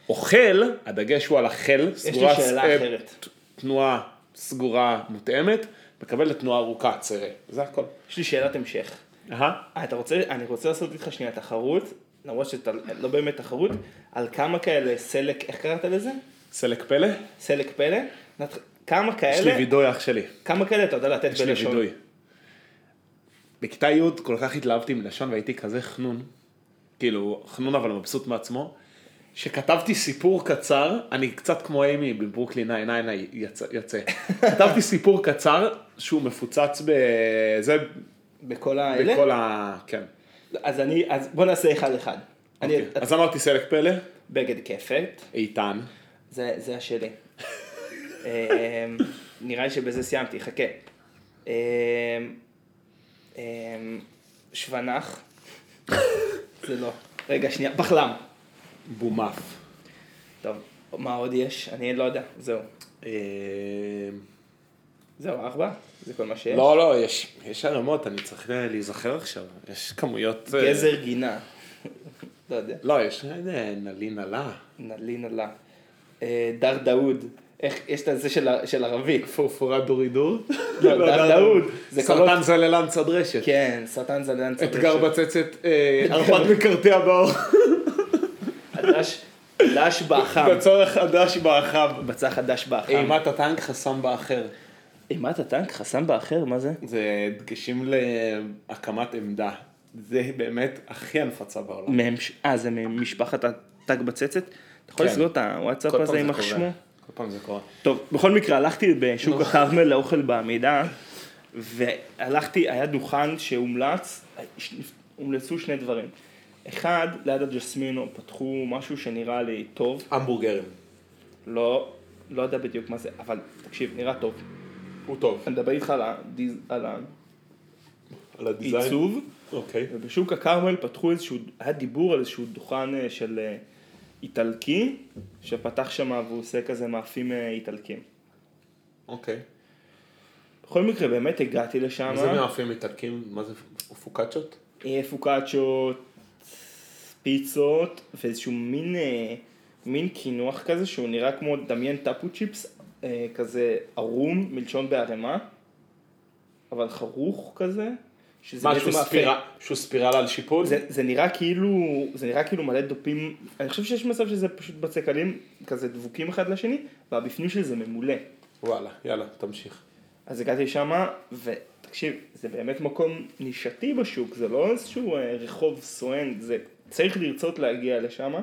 Speaker 1: אוכל, הדגש הוא על החל,
Speaker 2: לי
Speaker 1: סגורה,
Speaker 2: שאלה
Speaker 1: אה,
Speaker 2: אחרת.
Speaker 1: ת- תנועה סגורה מותאמת, מקבלת תנועה ארוכה, צרה, זה הכל.
Speaker 2: יש לי שאלת המשך.
Speaker 1: אהה.
Speaker 2: אה, אתה רוצה, אני רוצה לעשות איתך שנייה תחרות, למרות שאתה לא באמת תחרות, על כמה כאלה סלק, איך קראת לזה?
Speaker 1: סלק פלא?
Speaker 2: סלק פלא? נת- כמה
Speaker 1: יש לי
Speaker 2: כאלה,
Speaker 1: וידוי אח שלי,
Speaker 2: כמה כאלה אתה יודע לתת
Speaker 1: יש לי
Speaker 2: בלשון?
Speaker 1: וידוי. בכיתה י' כל כך התלהבתי מלשון והייתי כזה חנון, כאילו חנון אבל מבסוט מעצמו, שכתבתי סיפור קצר, אני קצת כמו אימי בברוקלין 99 יצא, יצא. כתבתי סיפור קצר שהוא מפוצץ בזה,
Speaker 2: בכל האלה?
Speaker 1: בכל ה... כן.
Speaker 2: אז אני, אז בוא נעשה אחד אחד. אני,
Speaker 1: אוקיי. אז אמרתי סלק פלא,
Speaker 2: בגד כפת,
Speaker 1: איתן.
Speaker 2: זה, זה השלי. אמ, נראה לי שבזה סיימתי, חכה. אמ, אמ, שוונח, זה לא. רגע, שנייה, בחלם.
Speaker 1: בומף.
Speaker 2: טוב, מה עוד יש? אני לא יודע, זהו. אה, זהו, ארבע? זה כל מה שיש?
Speaker 1: לא, לא, יש, יש ערמות, אני צריך להיזכר עכשיו. יש כמויות... אה,
Speaker 2: גזר גינה. לא יודע.
Speaker 1: לא, יש אה, נלי נלה.
Speaker 2: נלי נלה. אה, דר דאוד. איך, יש את זה של, ה- של ערבי.
Speaker 1: פורפורת דורידור.
Speaker 2: לא, דן דאוד. זה
Speaker 1: סרטן
Speaker 2: קולות-
Speaker 1: זללן צד רשת.
Speaker 2: כן, סרטן זלן צדק.
Speaker 1: אתגר בצצת, אה,
Speaker 2: כן.
Speaker 1: ערפד מקרטע באור.
Speaker 2: הדש, דש באחם.
Speaker 1: בצורך הדש באחיו.
Speaker 2: בצע חדש באחם.
Speaker 1: אימת הטנק חסם באחר.
Speaker 2: אימת הטנק חסם באחר, מה זה?
Speaker 1: זה דגשים להקמת עמדה. זה באמת הכי הנפצה בעולם.
Speaker 2: מהם, ש- אה, זה ממשפחת הטג בצצת? אתה יכול
Speaker 1: כן.
Speaker 2: לסגור את הוואטסאפ
Speaker 1: כל פעם
Speaker 2: הזה עם
Speaker 1: קורה.
Speaker 2: החשמו?
Speaker 1: כל פעם זה קורה.
Speaker 2: טוב, בכל מקרה, הלכתי בשוק הכרמל לאוכל בעמידה, והלכתי, היה דוכן שהומלץ, הומלצו שני דברים. אחד, ליד הג'סמינו פתחו משהו שנראה לי טוב,
Speaker 1: המבורגרים.
Speaker 2: לא, לא יודע בדיוק מה זה, אבל תקשיב, נראה טוב.
Speaker 1: הוא טוב.
Speaker 2: אני מדבר איתך על הדיז- על
Speaker 1: על הדיזיין.
Speaker 2: העיצוב,
Speaker 1: אוקיי.
Speaker 2: ובשוק הכרמל פתחו איזשהו, היה דיבור על איזשהו דוכן אה, של אה, איטלקי, שפתח שם והוא עושה כזה מאפים אה, איטלקים.
Speaker 1: אוקיי.
Speaker 2: בכל מקרה, באמת הגעתי לשם.
Speaker 1: מה זה מאפים איטלקים? מה זה פוקאצ'ות?
Speaker 2: אה, פוקאצ'ות, פיצות, ואיזשהו מין, אה, מין קינוח כזה שהוא נראה כמו דמיין טאפו צ'יפס, אה, כזה ערום, מלשון בערימה, אבל חרוך כזה. שזה
Speaker 1: משהו
Speaker 2: בעצם מאפה.
Speaker 1: ספירה, שהוא ספירלה על שיפוד?
Speaker 2: זה, זה נראה כאילו, זה נראה כאילו מלא דופים, אני חושב שיש מצב שזה פשוט בצקלים כזה דבוקים אחד לשני, והבפנים של זה ממולא.
Speaker 1: וואלה, יאללה, תמשיך.
Speaker 2: אז הגעתי שמה, ותקשיב, זה באמת מקום נישתי בשוק, זה לא איזשהו אה, רחוב סואן, זה צריך לרצות להגיע לשם,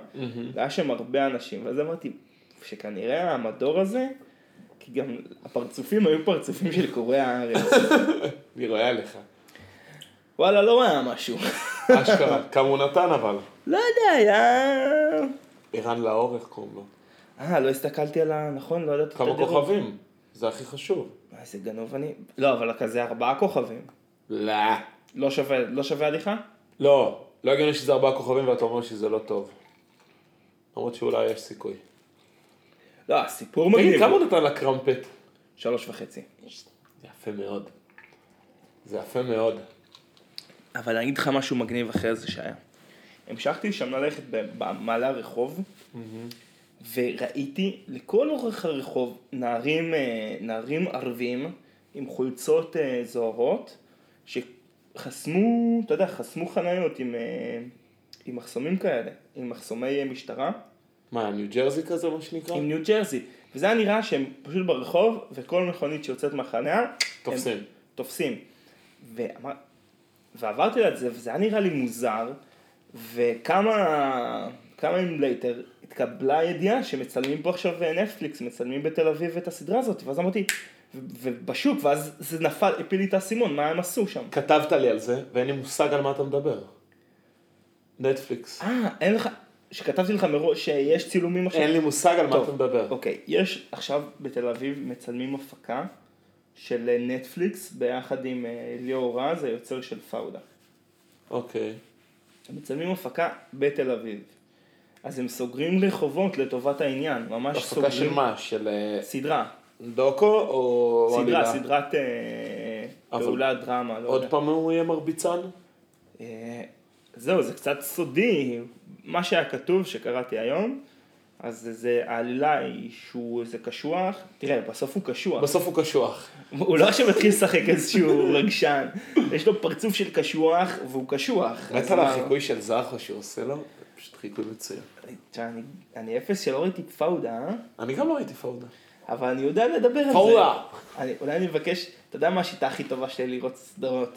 Speaker 2: והיה שם הרבה אנשים, ואז אמרתי שכנראה המדור הזה, כי גם הפרצופים היו פרצופים של קוראי הארץ,
Speaker 1: אני רואה עליך.
Speaker 2: וואלה לא היה משהו,
Speaker 1: אשכרה, כמה הוא נתן אבל.
Speaker 2: לא יודע, היה...
Speaker 1: ערן לאורך קוראים לו.
Speaker 2: אה, לא הסתכלתי על ה... נכון, לא ידעתי את
Speaker 1: כמה
Speaker 2: הדירוג.
Speaker 1: כוכבים? זה הכי חשוב.
Speaker 2: אה, איזה גנוב אני. לא, אבל כזה ארבעה כוכבים.
Speaker 1: לא.
Speaker 2: לא שווה, לא שווה הליכה?
Speaker 1: לא, לא הגיוני שזה ארבעה כוכבים ואתה אומר שזה לא טוב. למרות שאולי יש סיכוי.
Speaker 2: לא, הסיפור
Speaker 1: תגיד,
Speaker 2: מגניב.
Speaker 1: כמה הוא נתן לקרמפט?
Speaker 2: שלוש וחצי.
Speaker 1: יפה מאוד. זה יפה מאוד.
Speaker 2: אבל אני אגיד לך משהו מגניב אחרי זה שהיה. המשכתי שם ללכת ב- במעלה הרחוב, וראיתי לכל אורך הרחוב נערים, אה, נערים ערבים עם חולצות אה, זוהרות, שחסמו, אתה יודע, חסמו חניות עם, אה, עם מחסומים כאלה, עם מחסומי אה, משטרה.
Speaker 1: מה, ניו ג'רזי כזה מה שנקרא?
Speaker 2: עם ניו ג'רזי. וזה היה נראה שהם פשוט ברחוב, וכל מכונית שיוצאת מהחניה,
Speaker 1: תופסים.
Speaker 2: הם תופסים. ואמר... ועברתי ליד זה, וזה היה נראה לי מוזר, וכמה כמה ימים לייטר התקבלה הידיעה שמצלמים פה עכשיו נטפליקס, מצלמים בתל אביב את הסדרה הזאת, ואז אמרתי, ו- ובשוק, ואז זה נפל, הפיל לי את האסימון, מה הם עשו שם?
Speaker 1: כתבת לי על זה, ואין לי מושג על מה אתה מדבר. נטפליקס.
Speaker 2: אה, אין לך, שכתבתי לך מראש שיש צילומים עכשיו.
Speaker 1: אין לי מושג על מה
Speaker 2: טוב,
Speaker 1: אתה מדבר.
Speaker 2: אוקיי, יש עכשיו בתל אביב מצלמים הפקה של אה, נטפליקס ביחד עם אה, ליאור רז, היוצר של פאודה.
Speaker 1: אוקיי.
Speaker 2: אה, הם מצלמים הפקה בתל אביב. אז הם סוגרים רחובות לטובת העניין, ממש סוגרים...
Speaker 1: הפקה של מה? של אה,
Speaker 2: סדרה.
Speaker 1: דוקו או...
Speaker 2: סדרה,
Speaker 1: עלילה?
Speaker 2: סדרת אה,
Speaker 1: אבל-
Speaker 2: פעולה דרמה, לא
Speaker 1: עוד
Speaker 2: יודע.
Speaker 1: פעם הוא יהיה מרביצן?
Speaker 2: אה, זהו, זה קצת סודי, מה שהיה כתוב שקראתי היום, אז זה, העלילה היא שהוא איזה קשוח, תראה, בסוף הוא קשוח.
Speaker 1: בסוף הוא קשוח.
Speaker 2: הוא לא עכשיו מתחיל לשחק איזשהו רגשן, יש לו פרצוף של קשוח, והוא קשוח.
Speaker 1: ראית
Speaker 2: אז
Speaker 1: על
Speaker 2: מה-
Speaker 1: החיקוי של זרחו שהוא עושה לו? פשוט חיקוי מצוין.
Speaker 2: תשמע, אני- אני אפס שלא ראיתי פאודה, אה?
Speaker 1: אני גם לא ראיתי פאודה.
Speaker 2: אבל אני יודע לדבר על זה.
Speaker 1: פאודה!
Speaker 2: אני- אולי אני אבקש, אתה יודע מה השיטה הכי טובה שלי לראות סדרות?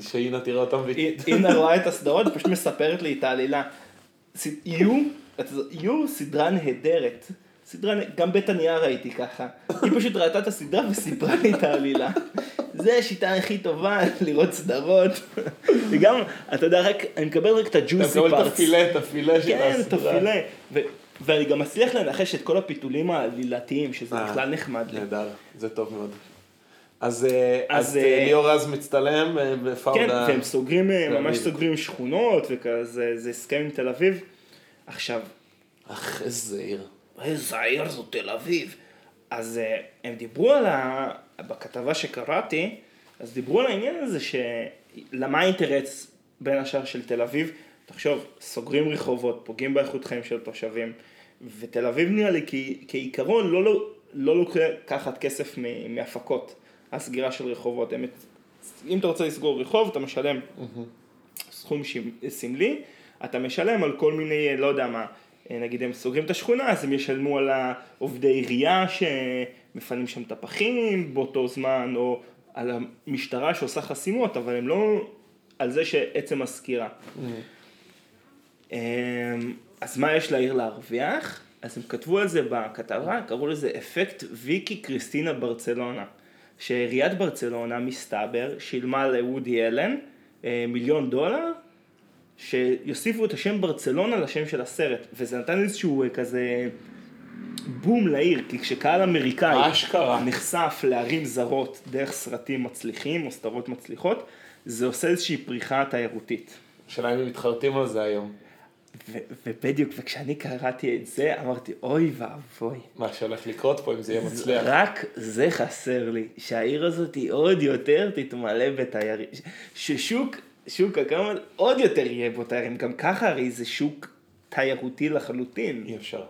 Speaker 1: שאינה תראה אותם והיא...
Speaker 2: אינה רואה את הסדרות, פשוט מספרת לי את העלילה. ס- יהיו, אתה זו- יהיו סדרה נהדרת. סדרה, נה- גם בית הנייר ראיתי ככה. היא פשוט ראתה את הסדרה וסיפרה לי את העלילה. זה השיטה הכי טובה, לראות סדרות. וגם, אתה יודע, רק, אני מקבל רק את
Speaker 1: אתה
Speaker 2: הג'וסי
Speaker 1: מקבל את
Speaker 2: פארטס.
Speaker 1: הפילה, את הפילה של
Speaker 2: כן,
Speaker 1: הסדרה.
Speaker 2: תפילה. ו- ואני גם מצליח לנחש את כל הפיתולים העלילתיים, שזה
Speaker 1: אה,
Speaker 2: בכלל נחמד לי.
Speaker 1: נהדר, זה טוב מאוד. אז אה,
Speaker 2: אז,
Speaker 1: אז, אה,
Speaker 2: אה,
Speaker 1: ליאור רז מצטלם, אה,
Speaker 2: כן,
Speaker 1: בפאודה...
Speaker 2: והם סוגרים,
Speaker 1: תל
Speaker 2: ממש
Speaker 1: אביב.
Speaker 2: סוגרים שכונות וכזה, זה הסכם עם תל אביב. עכשיו,
Speaker 1: אך, איזה עיר.
Speaker 2: איזה עיר זו תל אביב. אז אה, הם דיברו על ה... בכתבה שקראתי, אז דיברו על העניין הזה שלמה האינטרס בין השאר של תל אביב, תחשוב, סוגרים רחובות, פוגעים באיכות חיים של תושבים, ותל אביב נראה לי כי- כעיקרון לא, לא, לא לוקחת כסף מ- מהפקות, הסגירה של רחובות, הם... אם אתה רוצה לסגור רחוב אתה משלם סכום ש- סמלי, אתה משלם על כל מיני, לא יודע מה, אה, נגיד הם סוגרים את השכונה, אז הם ישלמו על העובדי עירייה שמפנים שם את הפחים באותו זמן, או על המשטרה שעושה חסימות, אבל הם לא על זה שעצם הסקירה. אמ, אז מה יש לעיר להרוויח? אז הם כתבו על זה בכתבה, קראו לזה אפקט ויקי קריסטינה ברצלונה. שעיריית ברצלונה, מסתבר, שילמה לוודי אלן אה, מיליון דולר, שיוסיפו את השם ברצלונה לשם של הסרט. וזה נתן איזשהו אה, כזה בום לעיר, כי כשקהל אמריקאי
Speaker 1: אשכרה.
Speaker 2: נחשף לערים זרות דרך סרטים מצליחים או סדרות מצליחות, זה עושה איזושהי פריחה תיירותית.
Speaker 1: השאלה אם הם מתחרטים על זה היום.
Speaker 2: ו- ובדיוק, וכשאני קראתי את זה, אמרתי, אוי ואבוי.
Speaker 1: מה שהולך לקרות פה אם זה יהיה מצליח.
Speaker 2: רק זה חסר לי, שהעיר הזאת היא עוד יותר תתמלא בתיירים. ש- ששוק, שוק הקרמל עוד יותר יהיה בו תיירים. גם ככה הרי זה שוק תיירותי לחלוטין.
Speaker 1: אי אפשר.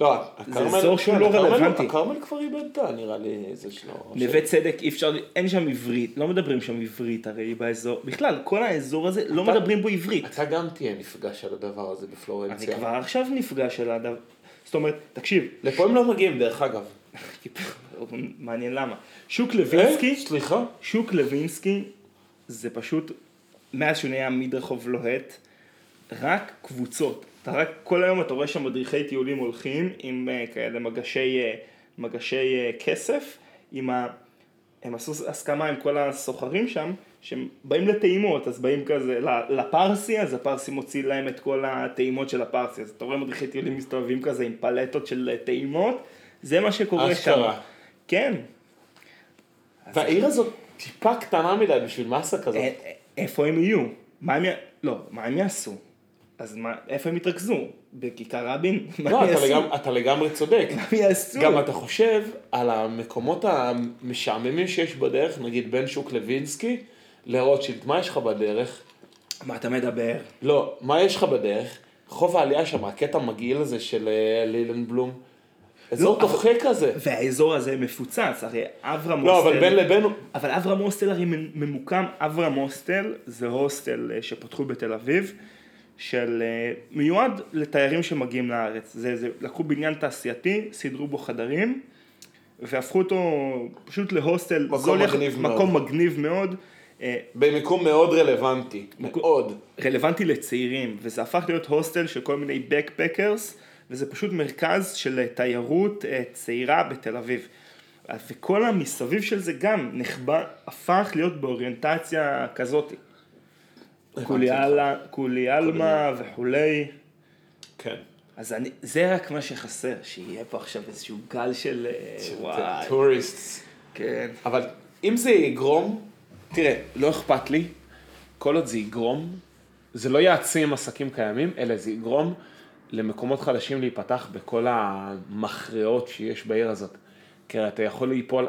Speaker 1: לא, הכרמל...
Speaker 2: אזור שהוא לא
Speaker 1: הכרמל-
Speaker 2: רלוונטי.
Speaker 1: הכרמל כבר איבדת, נראה לי, איזה שלא...
Speaker 2: נווה צדק אי אפשר, אין שם עברית, לא מדברים שם עברית הרי באזור, בכלל כל האזור הזה לא
Speaker 1: אתה-
Speaker 2: מדברים בו עברית.
Speaker 1: אתה גם תהיה נפגש על הדבר הזה
Speaker 2: אני
Speaker 1: בפלורנציה.
Speaker 2: כבר עכשיו נפגש על הדבר, זאת אומרת, תקשיב,
Speaker 1: לפה הם לא מגיעים, דרך אגב.
Speaker 2: מעניין למה, שוק
Speaker 1: אה,
Speaker 2: לוינסקי,
Speaker 1: סליחה.
Speaker 2: שוק לוינסקי זה פשוט, מאז שהוא נהיה עמיד רחוב לוהט, רק קבוצות. אתה רק, כל היום אתה רואה שם מדריכי טיולים הולכים עם אה, כאלה מגשי, אה, מגשי אה, כסף, עם ה... הם עשו הסכמה עם כל הסוחרים שם, שהם באים לטעימות, אז באים כזה ל- לפרסי, אז הפרסי מוציא להם את כל הטעימות של הפרסי, אז אתה רואה מדריכי טיולים מסתובבים כזה עם פלטות של אה, טעימות, זה מה שקורה לא שם.
Speaker 1: אשכרה.
Speaker 2: כן.
Speaker 1: והעיר הזאת טיפה קטנה מדי בשביל מסה כזאת.
Speaker 2: אה, אה, איפה הם יהיו? מה הם י... לא, מה הם יעשו? אז מה, איפה הם יתרכזו? בכיכר רבין? מה
Speaker 1: לא,
Speaker 2: הם
Speaker 1: אתה
Speaker 2: יעשו?
Speaker 1: לגמ- אתה לגמרי צודק.
Speaker 2: מה הם יעשו?
Speaker 1: גם אתה חושב על המקומות המשעממים שיש בדרך, נגיד בין שוק לוינסקי לרוטשילד, מה יש לך בדרך?
Speaker 2: מה אתה מדבר?
Speaker 1: לא, מה יש לך בדרך? חוב העלייה שם, הקטע המגעיל הזה של אה, לילנבלום. אזור
Speaker 2: לא, אבל-
Speaker 1: דוחה כזה.
Speaker 2: והאזור הזה מפוצץ, הרי אברהם
Speaker 1: לא, אבל בין לבין...
Speaker 2: אבל אברהם הוסטל הרי ממוקם, אברהם הוסטל זה הוסטל אה, שפתחו בתל אביב, של אה, מיועד לתיירים שמגיעים לארץ. זה, זה, לקחו בניין תעשייתי, סידרו בו חדרים, והפכו אותו פשוט להוסטל,
Speaker 1: מקום
Speaker 2: זול יח-
Speaker 1: מגניב מאוד.
Speaker 2: מקום מגניב מאוד. אה,
Speaker 1: במיקום מאוד רלוונטי, מאוד.
Speaker 2: רלוונטי לצעירים, וזה הפך להיות הוסטל של כל מיני בקפקרס, וזה פשוט מרכז של תיירות אה, צעירה בתל אביב. וכל המסביב של זה גם נחבא, הפך להיות באוריינטציה כזאת. קוליאלה, קוליאלמה וכולי.
Speaker 1: כן.
Speaker 2: אז אני, זה רק מה שחסר, שיהיה פה עכשיו איזשהו גל של אה, וואי.
Speaker 1: טוריסטס.
Speaker 2: כן.
Speaker 1: אבל אם זה יגרום, תראה, לא אכפת לי, כל עוד זה יגרום, זה לא יעצים עסקים קיימים, אלא זה יגרום למקומות חדשים להיפתח בכל המכריעות שיש בעיר הזאת. כי הרי אתה יכול ליפול,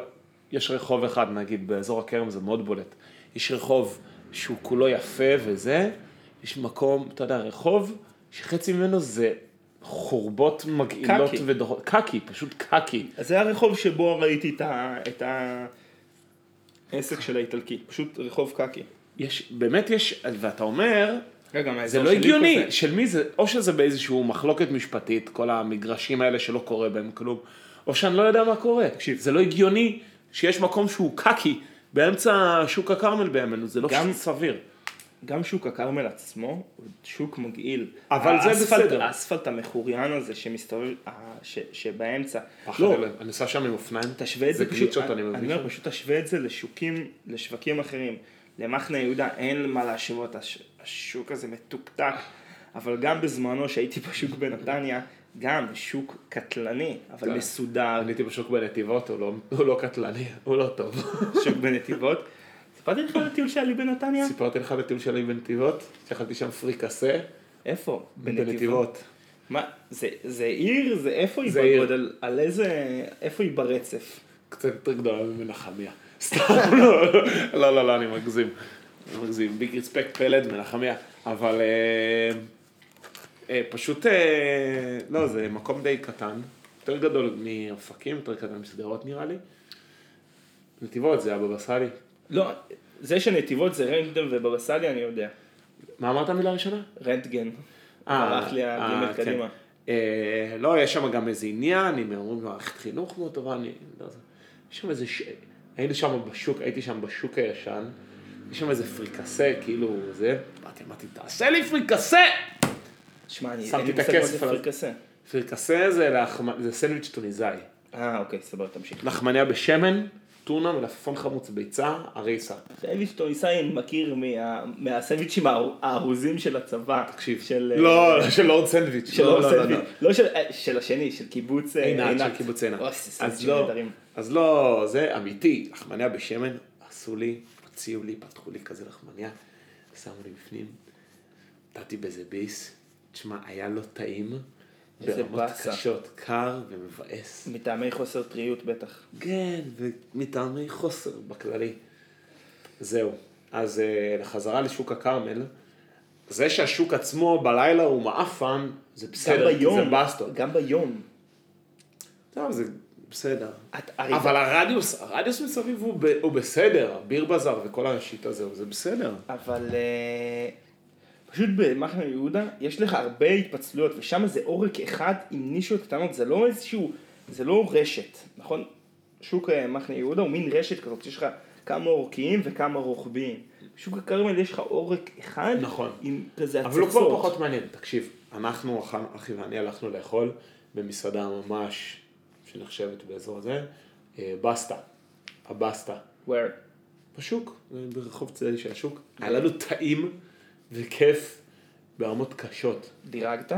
Speaker 1: יש רחוב אחד נגיד, באזור הכרם זה מאוד בולט, יש רחוב שהוא כולו יפה וזה, יש מקום, אתה יודע, רחוב שחצי ממנו זה חורבות מגעילות
Speaker 2: קקי.
Speaker 1: ודורות, קקי, פשוט קקי.
Speaker 2: אז זה הרחוב שבו ראיתי את ה- את העסק של האיטלקי, פשוט רחוב קקי.
Speaker 1: יש, באמת יש, ואתה אומר,
Speaker 2: רגע, מהאזור
Speaker 1: זה לא
Speaker 2: שלי
Speaker 1: הגיוני,
Speaker 2: כזה.
Speaker 1: של מי זה, או שזה באיזשהו מחלוקת משפטית, כל המגרשים האלה שלא קורה בהם כלום, או שאני לא יודע מה קורה. תקשיב, זה לא הגיוני שיש מקום שהוא קקי באמצע שוק הכרמל בימינו, זה לא
Speaker 2: גם-
Speaker 1: סביר.
Speaker 2: גם שוק הכרמל עצמו הוא שוק מגעיל.
Speaker 1: אבל זה
Speaker 2: האספלט-
Speaker 1: בסדר.
Speaker 2: האספלט המחוריין הזה שמסתובב, אה, ש- שבאמצע.
Speaker 1: לא,
Speaker 2: לא,
Speaker 1: אני נוסע שם עם אופניים,
Speaker 2: תשווה את זה,
Speaker 1: זה
Speaker 2: פשוט- אה,
Speaker 1: גליצ'ות, אני מבין
Speaker 2: אומר,
Speaker 1: שם.
Speaker 2: פשוט תשווה את זה לשוקים, לשווקים אחרים. למחנה יהודה אין מה להשוות, הש- השוק הזה מתוקתק. אבל גם בזמנו שהייתי בשוק בנתניה, גם שוק קטלני, אבל
Speaker 1: כן.
Speaker 2: מסודר,
Speaker 1: אני הייתי בשוק בנתיבות, הוא לא- הוא לא קטלני, הוא לא טוב.
Speaker 2: שוק בנתיבות. סיפרתי לך על הטיול שהיה לי בנתניה?
Speaker 1: סיפרתי לך על הטיול שלי בנתיבות, שאכלתי שם פריקסה
Speaker 2: איפה?
Speaker 1: בנתיבות.
Speaker 2: מה, זה, זה עיר? זה איפה היא
Speaker 1: זה עיר.
Speaker 2: בגודל? על איזה... איפה היא ברצף?
Speaker 1: קצת יותר גדולה ממנחמיה. סתם, לא, לא, לא, לא, אני מגזים. אני מגזים. ביג רספקט פלד, מנחמיה. אבל אה, אה, פשוט, אה, לא, זה מקום די קטן. יותר גדול מאופקים, יותר קטן משדרות נראה לי. נתיבות זה הבבא סאלי.
Speaker 2: לא, זה שנתיבות זה רנטגן ובבסליה אני יודע.
Speaker 1: מה אמרת המילה הראשונה?
Speaker 2: רנטגן.
Speaker 1: אה,
Speaker 2: ברח לי הגימל
Speaker 1: אה, כן.
Speaker 2: קדימה.
Speaker 1: אה, לא, יש שם גם איזה עניין, הם אומרים מערכת חינוך מאוד טובה, אני לא יודע. יש שם איזה, ש... היינו שם בשוק, הייתי שם בשוק הישן, יש שם איזה פריקסה, כאילו, זה, באתי, אמרתי, תעשה לי פריקסה!
Speaker 2: שמע, אני...
Speaker 1: שמתי
Speaker 2: אין לי
Speaker 1: את
Speaker 2: מושג מה
Speaker 1: הכסף
Speaker 2: זה
Speaker 1: עליו.
Speaker 2: פרקסה.
Speaker 1: פריקסה זה, לחמ... זה סנדוויץ' טוניסאי.
Speaker 2: אה, אוקיי, סבבה, תמשיך.
Speaker 1: לחמניה בשמן, טונה, מלפפון חמוץ, ביצה, אריסה.
Speaker 2: סנדוויץ' טוניסאי מכיר מה- מהסנדוויצ'ים האר- הארוזים של הצבא.
Speaker 1: תקשיב.
Speaker 2: של... אה,
Speaker 1: לא, לא, של לורד סנדוויץ'.
Speaker 2: של
Speaker 1: לא,
Speaker 2: לא,
Speaker 1: לא,
Speaker 2: לא,
Speaker 1: לא, לא.
Speaker 2: של, אה, של השני, של קיבוץ אה,
Speaker 1: עינת, של קיבוץ עינת.
Speaker 2: אוי, זה
Speaker 1: אז
Speaker 2: סנדוויצ'ים
Speaker 1: לא,
Speaker 2: נהדרים.
Speaker 1: אז לא, זה אמיתי, לחמניה בשמן, עשו לי, הוציאו לי, פתחו לי כזה לחמניה, שמו לי בפנים, נתתי באיזה ביס, תשמע, היה לא טעים,
Speaker 2: איזה
Speaker 1: ברמות
Speaker 2: באסה.
Speaker 1: קשות, קר ומבאס.
Speaker 2: מטעמי חוסר טריות בטח.
Speaker 1: כן, ומטעמי חוסר בכללי. זהו. אז אה, לחזרה לשוק הכרמל, זה שהשוק עצמו בלילה הוא מעפן, זה
Speaker 2: גם
Speaker 1: בסדר, כי
Speaker 2: ביום,
Speaker 1: זה בסטות.
Speaker 2: גם ביום.
Speaker 1: טוב, לא, זה בסדר.
Speaker 2: את- הרי-
Speaker 1: אבל הרדיוס, הרדיוס מסביב הוא ב- הוא בסדר, ביר בזאר וכל השיט הזה, זה בסדר.
Speaker 2: אבל אה, פשוט במחנה יהודה יש לך הרבה התפצלויות, ושם זה עורק אחד עם נישות קטנות, זה לא איזשהו, זה לא רשת, נכון? שוק אה, מחנה יהודה הוא מין רשת כזאת, יש לך כמה עורקיים וכמה רוחביים. בשוק הכרמל יש לך עורק אחד,
Speaker 1: נכון.
Speaker 2: עם כזה הצצות.
Speaker 1: אבל הוא כבר פחות מעניין, תקשיב, אנחנו, אכל- אחי ואני הלכנו לאכול במסעדה ממש שנחשבת באזור הזה, אה, בסטה, הבסטה,
Speaker 2: Where?
Speaker 1: בשוק, אה, ברחוב צדדי של השוק, היה לנו טעים וכיף ברמות קשות.
Speaker 2: דירגת?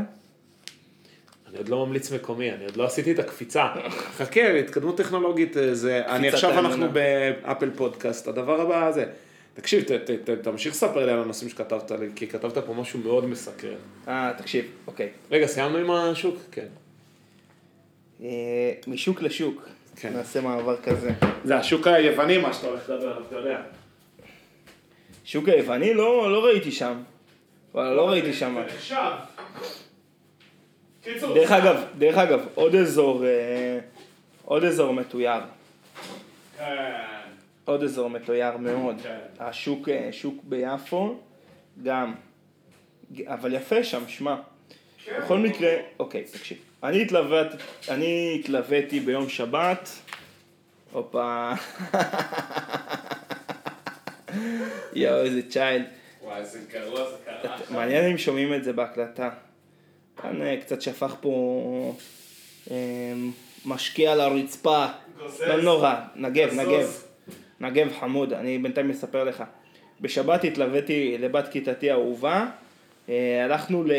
Speaker 1: אני עוד לא ממליץ מקומי, אני עוד לא עשיתי את הקפיצה. חכה, התקדמות טכנולוגית אה, זה... אני עכשיו
Speaker 2: העליונה.
Speaker 1: אנחנו באפל פודקאסט, הדבר הבא זה... תקשיב, ת, ת, ת, תמשיך לספר לי על הנושאים שכתבת לי, כי כתבת פה משהו מאוד מסקרן.
Speaker 2: אה, תקשיב, אוקיי.
Speaker 1: רגע, סיימנו עם השוק? כן.
Speaker 2: אה, משוק לשוק.
Speaker 1: כן.
Speaker 2: נעשה מעבר כזה.
Speaker 1: זה השוק היווני, מה שאתה הולך לדבר עליו, אתה יודע.
Speaker 2: שוק היווני? לא, לא ראיתי שם. וואלה, לא ראיתי שם.
Speaker 1: עכשיו. קיצור,
Speaker 2: דרך אגב, דרך אגב, עוד אזור, אה, עוד אזור מתויר. עוד אזור מתויר מאוד.
Speaker 1: כן.
Speaker 2: השוק, אה, שוק ביפו, גם. ג- אבל יפה שם, שמע. בכל מקרה, אוקיי, תקשיב. אני התלוות- אני התלוויתי ביום שבת. הופה. יואו, איזה צ'יילד.
Speaker 1: וואי, איזה גרוע זה קרה.
Speaker 2: מעניין אם שומעים את זה בהקלטה. כאן אה, קצת שפך פה אה, משקיע על הרצפה.
Speaker 1: גוזז.
Speaker 2: לא נורא, נגב,
Speaker 1: גזוז.
Speaker 2: נגב. נגב חמוד, אני בינתיים מספר לך. בשבת התלוויתי לבת כיתתי האהובה, אה, הלכנו ל...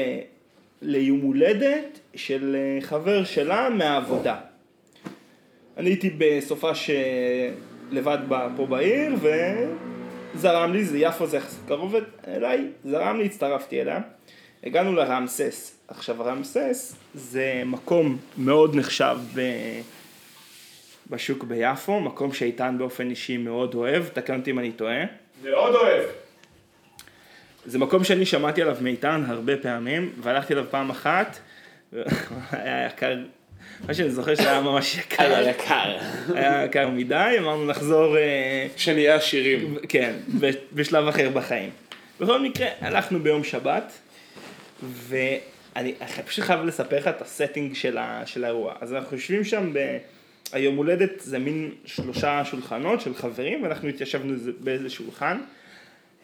Speaker 2: ליום הולדת של אה, חבר שלה מהעבודה. אני הייתי בסופה שלבד פה בעיר, וזרם לי, זה יפו זה יחסית קרוב אליי, זרם לי, הצטרפתי אליה. הגענו לרמסס. עכשיו רמסס זה מקום מאוד נחשב אה, ב... בשוק ביפו, מקום שאיתן באופן אישי מאוד אוהב, תקן אותי אם אני טועה.
Speaker 1: מאוד אוהב.
Speaker 2: זה מקום שאני שמעתי עליו מאיתן הרבה פעמים, והלכתי אליו פעם אחת, היה יקר, מה שאני זוכר שהיה ממש יקר,
Speaker 1: יקר.
Speaker 2: היה יקר מדי, אמרנו נחזור, אה,
Speaker 1: שנהיה עשירים.
Speaker 2: כן, ב- בשלב אחר בחיים. בכל מקרה, הלכנו ביום שבת, ואני אני פשוט חייב לספר לך את הסטינג של, ה, של האירוע. אז אנחנו יושבים שם ב... היום הולדת זה מין שלושה שולחנות של חברים, ואנחנו התיישבנו איזה- באיזה שולחן.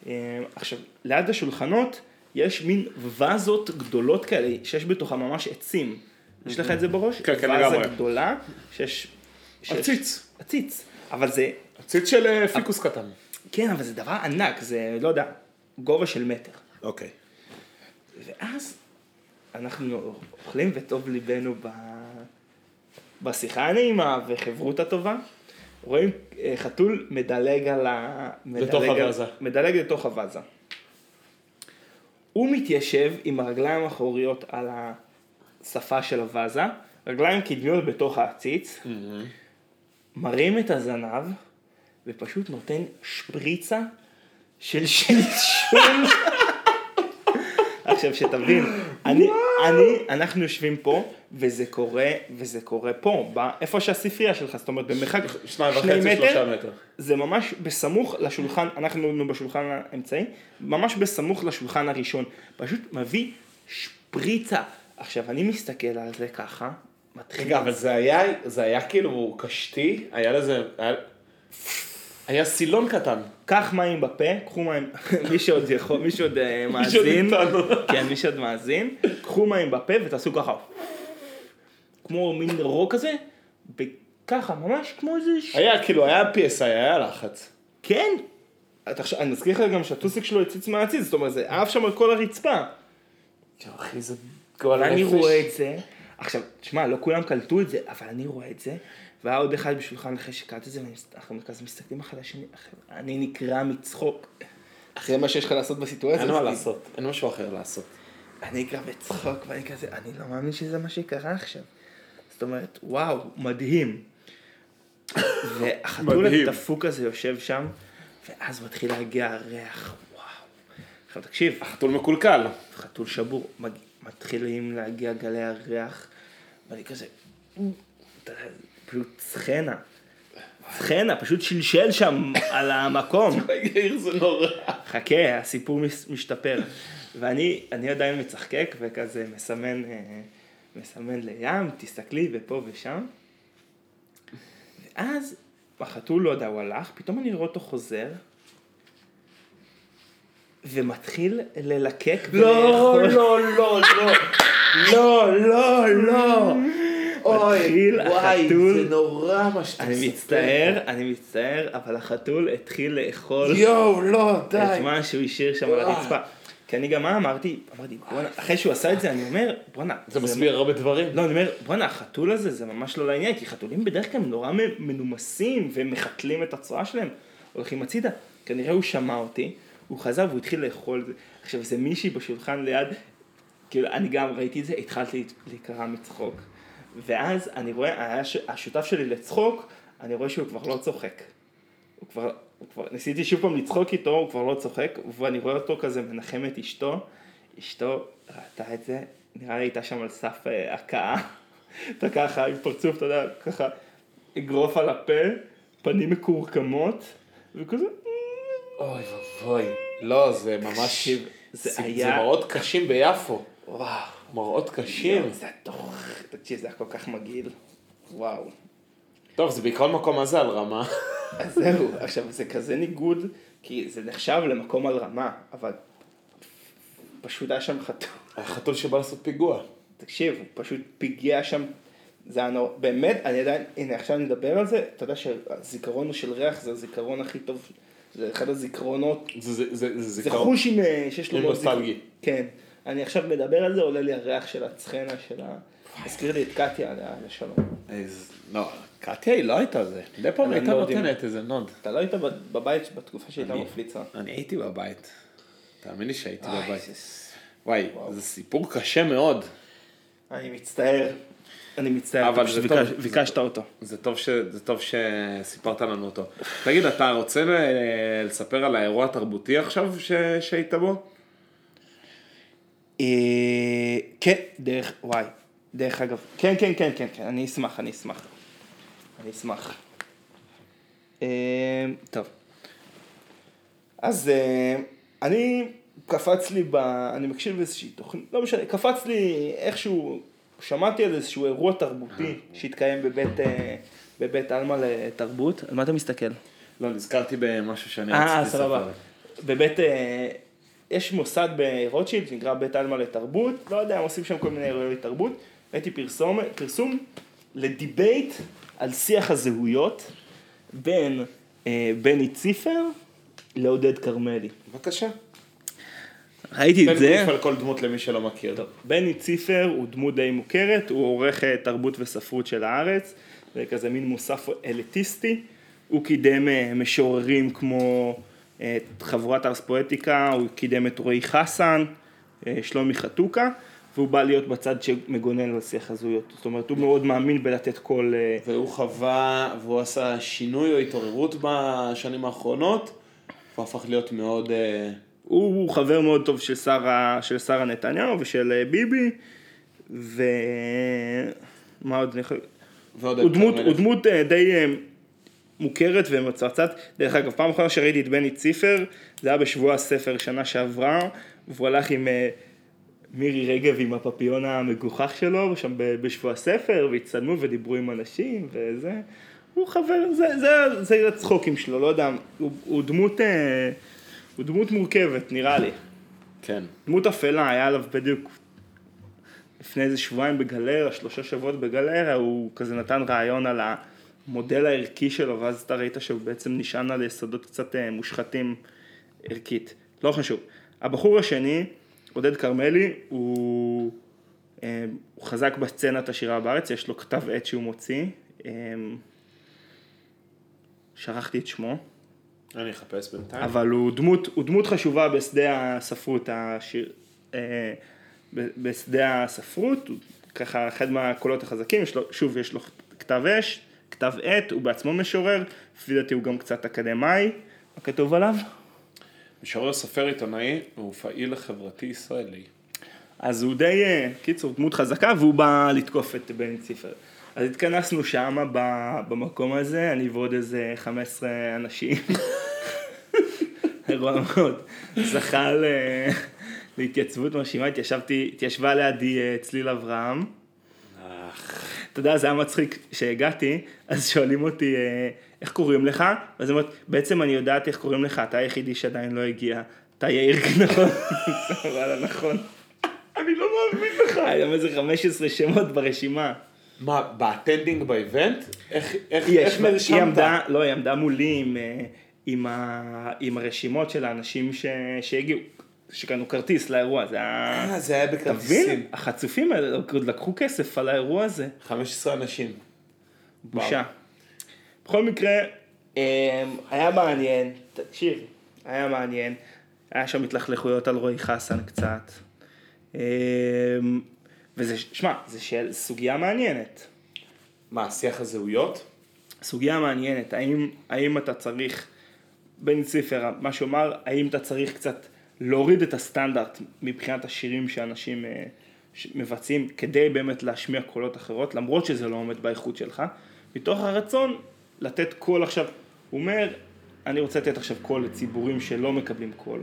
Speaker 2: אה, עכשיו, ליד השולחנות יש מין וזות גדולות כאלה, שיש בתוכן ממש עצים. יש לך את זה בראש?
Speaker 1: כן, כן, לגמרי.
Speaker 2: וזה גדולה, שיש... שיש-
Speaker 1: עציץ.
Speaker 2: עציץ. אבל זה
Speaker 1: ציץ של אה, פיקוס קטן.
Speaker 2: כן, אבל זה דבר ענק, זה, לא יודע, גובה של מטר.
Speaker 1: אוקיי.
Speaker 2: ואז אנחנו אוכלים וטוב ליבנו ב... בשיחה הנעימה וחברותא טובה. רואים אה, חתול מדלג על ה... מדלג
Speaker 1: לתוך
Speaker 2: על-
Speaker 1: הוואזה.
Speaker 2: מדלג לתוך הוואזה. הוא מתיישב עם הרגליים האחוריות על שפה של הוואזה, רגליים קדמיות בתוך העציץ, מרים את הזנב, ופשוט נותן שפריצה של שלשול. עכשיו שתבין, אני, אני, אנחנו יושבים פה, וזה קורה, וזה קורה פה, ב, איפה שהספרייה שלך, זאת אומרת במרחק
Speaker 1: שניים
Speaker 2: שני
Speaker 1: וחצי,
Speaker 2: מטר,
Speaker 1: שלושה מטר.
Speaker 2: זה ממש בסמוך לשולחן, אנחנו היינו בשולחן האמצעי, ממש בסמוך לשולחן הראשון. פשוט מביא שפריצה. עכשיו, אני מסתכל על זה ככה, מתחיל...
Speaker 1: רגע, אבל זה היה, זה היה כאילו קשתי, היה לזה, היה- היה סילון קטן.
Speaker 2: קח מים בפה, קחו מים, מי שעוד יכול, מי שעוד אה, מאזין,
Speaker 1: איתנו.
Speaker 2: כן, מי שעוד מאזין, קחו מים בפה ותעשו ככה, כמו מין רוק כזה, וככה, ממש כמו איזה... ש-
Speaker 1: היה כאילו, היה PSI, היה לחץ.
Speaker 2: כן! אתה עכשיו- אני מזכיר לך גם שהטוסיק שלו הציץ מהעציץ, זאת אומרת, זה עף שם על כל הרצפה.
Speaker 1: יואו, אחי, זה גועל נפש.
Speaker 2: ואני רואה את זה, עכשיו, תשמע, לא כולם קלטו את זה, אבל אני רואה את זה, והיה עוד אחד בשולחן אחרי שקלט את זה, ואנחנו כזה מסתכלים אחד על השני, אחי, אני נקרע מצחוק. אחרי מה שיש לך לעשות בסיטואציה.
Speaker 1: אין מה
Speaker 2: הזאת.
Speaker 1: לעשות, אין משהו אחר לעשות.
Speaker 2: אני נקרע בצחוק, ואני כזה, אני לא מאמין שזה מה שקרה עכשיו. זאת אומרת, וואו, מדהים. והחתול
Speaker 1: מדהים.
Speaker 2: הדפוק הזה יושב שם, ואז מתחיל להגיע הריח, וואו. עכשיו תקשיב,
Speaker 1: החתול מקולקל.
Speaker 2: חתול שבור, מג... מתחילים להגיע גלי הריח, ואני כזה, אתה יודע, פשוט סצנה, סצנה, פשוט שלשל שם על המקום.
Speaker 1: יאיר זה נורא.
Speaker 2: חכה, הסיפור מס- משתפר. ואני אני עדיין מצחקק וכזה מסמן, אה, מסמן לים, תסתכלי ופה ושם. ואז החתול, לא יודע, הוא הלך, פתאום אני רואה אותו חוזר. ומתחיל ללקק ולאכול.
Speaker 1: לא, לא, לא. לא, לא, לא.
Speaker 2: מתחיל החתול.
Speaker 1: נורא מה שאתה
Speaker 2: אני מצטער, אני מצטער, אבל החתול התחיל לאכול
Speaker 1: יואו, לא,
Speaker 2: את מה שהוא השאיר שם על
Speaker 1: וואי.
Speaker 2: הרצפה. כי אני גם מה אמרתי? אמרתי, בואנה, אחרי שהוא עשה את זה, אני אומר, בואנה.
Speaker 1: זה מסביר הרבה דברים.
Speaker 2: לא, אני אומר, בואנה, החתול הזה זה ממש לא לעניין, כי חתולים בדרך כלל הם נורא מ- מנומסים ומחתלים את הצואה שלהם, הולכים הצידה. כנראה הוא שמע אותי, הוא חזר והוא התחיל לאכול את זה. עכשיו, זה מישהי בשולחן ליד, כאילו, אני גם ראיתי את זה, התחלתי להת- להיקרע מצחוק. ואז אני רואה, היה ש- השותף שלי לצחוק, אני רואה שהוא כבר לא צוחק. הוא כבר, הוא כבר, ניסיתי שוב פעם לצחוק איתו, הוא כבר לא צוחק, ואני רואה אותו כזה מנחם את אשתו, אשתו ראתה את זה, נראה לי הייתה שם על סף אה, הכאה, אתה ככה עם פרצוף, אתה יודע, ככה אגרוף על הפה, פנים מקורקמות, וכזה,
Speaker 1: אוי ואבוי. לא, זה ממש...
Speaker 2: תקשיב, זה
Speaker 1: זה
Speaker 2: היה-
Speaker 1: זה מראות קשים ביפו.
Speaker 2: וואו,
Speaker 1: מראות קשים.
Speaker 2: זה תוך, תקשיב, זה היה כל כך מגעיל, וואו.
Speaker 1: טוב, זה בעיקרון מקום הזה על רמה.
Speaker 2: אז זהו, עכשיו זה כזה ניגוד, כי זה נחשב למקום על רמה, אבל פשוט היה שם חתום.
Speaker 1: החתול שבא לעשות פיגוע.
Speaker 2: תקשיב, הוא פשוט פיגע שם, זה היה נורא, באמת, אני עדיין, הנה עכשיו אני מדבר על זה, אתה יודע שהזיכרון של ריח זה הזיכרון הכי טוב, זה אחד הזיכרונות,
Speaker 1: זה- זה- זה זה
Speaker 2: זה
Speaker 1: זיכרון.
Speaker 2: חוש עם, אה, שיש לו
Speaker 1: עם
Speaker 2: מאוד זיכרון.
Speaker 1: נוסטלגי.
Speaker 2: כן, אני עכשיו מדבר על זה, עולה לי הריח של הצחנה, של ה... הזכיר לי את קטיה, עליה לשלום.
Speaker 1: איזה- לא, קטיה היא לא הייתה זה. מדי פעם
Speaker 2: אבל
Speaker 1: הייתה
Speaker 2: לא יודעים.
Speaker 1: נותנת איזה נוד. לא
Speaker 2: אתה לא היית בב- בבית בתקופה שהיא הייתה מפליצה.
Speaker 1: אני הייתי בבית. תאמין לי שהייתי
Speaker 2: איי,
Speaker 1: בבית.
Speaker 2: זה-
Speaker 1: וואי, זה סיפור קשה מאוד.
Speaker 2: אני מצטער. אני מצטער,
Speaker 1: אבל
Speaker 2: אתה פשוט
Speaker 1: זה טוב.
Speaker 2: ביקש- ביקשת אותו.
Speaker 1: זה טוב, ש... זה טוב שסיפרת לנו אותו. תגיד, אתה רוצה ל- לספר על האירוע התרבותי עכשיו ש... שהיית בו?
Speaker 2: אה, כן, דרך, וואי, דרך אגב, כן, כן, כן, כן, כן, אני אשמח, אני אשמח. אני אשמח. אה, טוב. אז אה, אני, קפץ לי ב... אני מקשיב לאיזושהי תוכנית, לא משנה, קפץ לי איכשהו, שמעתי על איזשהו אירוע תרבותי שהתקיים בבית, אה, בבית עלמה לתרבות. על מה אתה מסתכל?
Speaker 1: לא, נזכרתי במשהו שאני
Speaker 2: אה, סבבה. בבית, אה, יש מוסד ברוטשילד שנקרא בית עלמא לתרבות, לא יודע, הם עושים שם כל מיני אירועי תרבות. ראיתי פרסום, פרסום לדיבייט על שיח הזהויות בין אה, בני ציפר לעודד כרמלי.
Speaker 1: בבקשה.
Speaker 2: ראיתי
Speaker 1: תן גוף על כל דמות למי שלא מכיר.
Speaker 2: טוב, בני ציפר הוא דמות די מוכרת, הוא עורך אה, תרבות וספרות של הארץ, זה כזה מין מוסף אליטיסטי, הוא קידם אה, משוררים כמו אה, את חבורת ארס פואטיקה, הוא קידם את רועי חסן, אה, שלומי חתוקה, והוא בא להיות בצד שמגונן על שיח הזויות. זאת אומרת, הוא מאוד מאמין בלתת קול... אה,
Speaker 1: והוא חווה, והוא עשה שינוי או התעוררות בשנים האחרונות, והוא הפך להיות מאוד... אה,
Speaker 2: הוא הוא חבר מאוד טוב של שרה, של שרה נתניהו ושל אה, ביבי, ו... מה עוד אני יכול...
Speaker 1: ועוד
Speaker 2: הוא דמות,
Speaker 1: יותר
Speaker 2: הוא
Speaker 1: מלך.
Speaker 2: דמות אה, די אה, מוכרת ומצרצת. דרך אגב, פעם אחרונה שראיתי את בני ציפר, זה היה בשבוע הספר שנה שעברה, והוא הלך עם אה, מירי רגב עם הפפיון המגוחך שלו, שם ב- בשבוע הספר, והצטלמו ודיברו עם אנשים וזה. הוא חבר, זה, זה, זה הצחוקים שלו, לא יודע, הוא, הוא דמות, אה, הוא דמות מורכבת נראה לי.
Speaker 1: כן.
Speaker 2: דמות אפלה, היה עליו בדיוק לפני איזה שבועיים בגלריה, שלושה שבועות בגלריה, הוא כזה נתן רעיון על המודל הערכי שלו, ואז אתה ראית שהוא בעצם נשען על יסודות קצת אה, מושחתים ערכית. לא חשוב. הבחור השני, עודד כרמלי, הוא, אה, הוא חזק בסצנת השירה בארץ, יש לו כתב עת שהוא מוציא. אה, שכחתי את שמו.
Speaker 1: אני אחפש בינתיים.
Speaker 2: אבל הוא דמות, הוא דמות חשובה בשדה הספרות, השיר, אה, ב- בשדה הספרות, הוא ככה אחד מהקולות החזקים, יש לו, שוב, יש לו כתב אש, כתב עת, הוא בעצמו משורר, לפי דעתי הוא גם קצת אקדמאי, מה כתוב עליו?
Speaker 1: משורר סופר עיתונאי הוא פעיל חברתי ישראלי.
Speaker 2: אז הוא די, אה, קיצור, דמות חזקה, והוא בא לתקוף את בני ציפר. אז התכנסנו שם ב- במקום הזה, אני ועוד איזה 15 אנשים. אירוע מאוד זכה ל- להתייצבות מרשימה, התיישבתי, התיישבה לידי אה, צליל אברהם. אתה יודע, זה היה מצחיק שהגעתי, אז שואלים אותי, אה, איך קוראים לך? ואז היא אומרת, בעצם אני יודעת איך קוראים לך, אתה היחידי שעדיין לא הגיע. אתה יאיר, נכון? וואלה, נכון. אני לא מאמין לך. היה גם איזה 15 שמות ברשימה.
Speaker 1: מה, באטנדינג באיבנט? איך איך-
Speaker 2: היא
Speaker 1: איך
Speaker 2: ישבה- היא
Speaker 1: נרשמת?
Speaker 2: עמדה, לא, היא עמדה מולי עם, אה, עם, ה, עם הרשימות של האנשים ש, שהגיעו, שקנו כרטיס לאירוע, זה היה...
Speaker 1: אה, זה היה
Speaker 2: תבין,
Speaker 1: בכרטיסים.
Speaker 2: החצופים האלה עוד לקחו כסף על האירוע הזה.
Speaker 1: 15 אנשים.
Speaker 2: בושה. בכל מקרה, אה, היה מעניין, תקשיב, היה מעניין, היה שם התלכלכויות על רועי חסן קצת, אה, וזה, שמע, זו שאל- סוגיה מעניינת.
Speaker 1: מה, שיח הזהויות?
Speaker 2: סוגיה מעניינת, האם, האם אתה צריך, בן ציפר, מה שאומר, האם אתה צריך קצת להוריד את הסטנדרט מבחינת השירים שאנשים אה, ש- מבצעים כדי באמת להשמיע קולות אחרות, למרות שזה לא עומד באיכות שלך, מתוך הרצון לתת קול עכשיו, הוא אומר, אני רוצה לתת עכשיו קול לציבורים שלא מקבלים קול,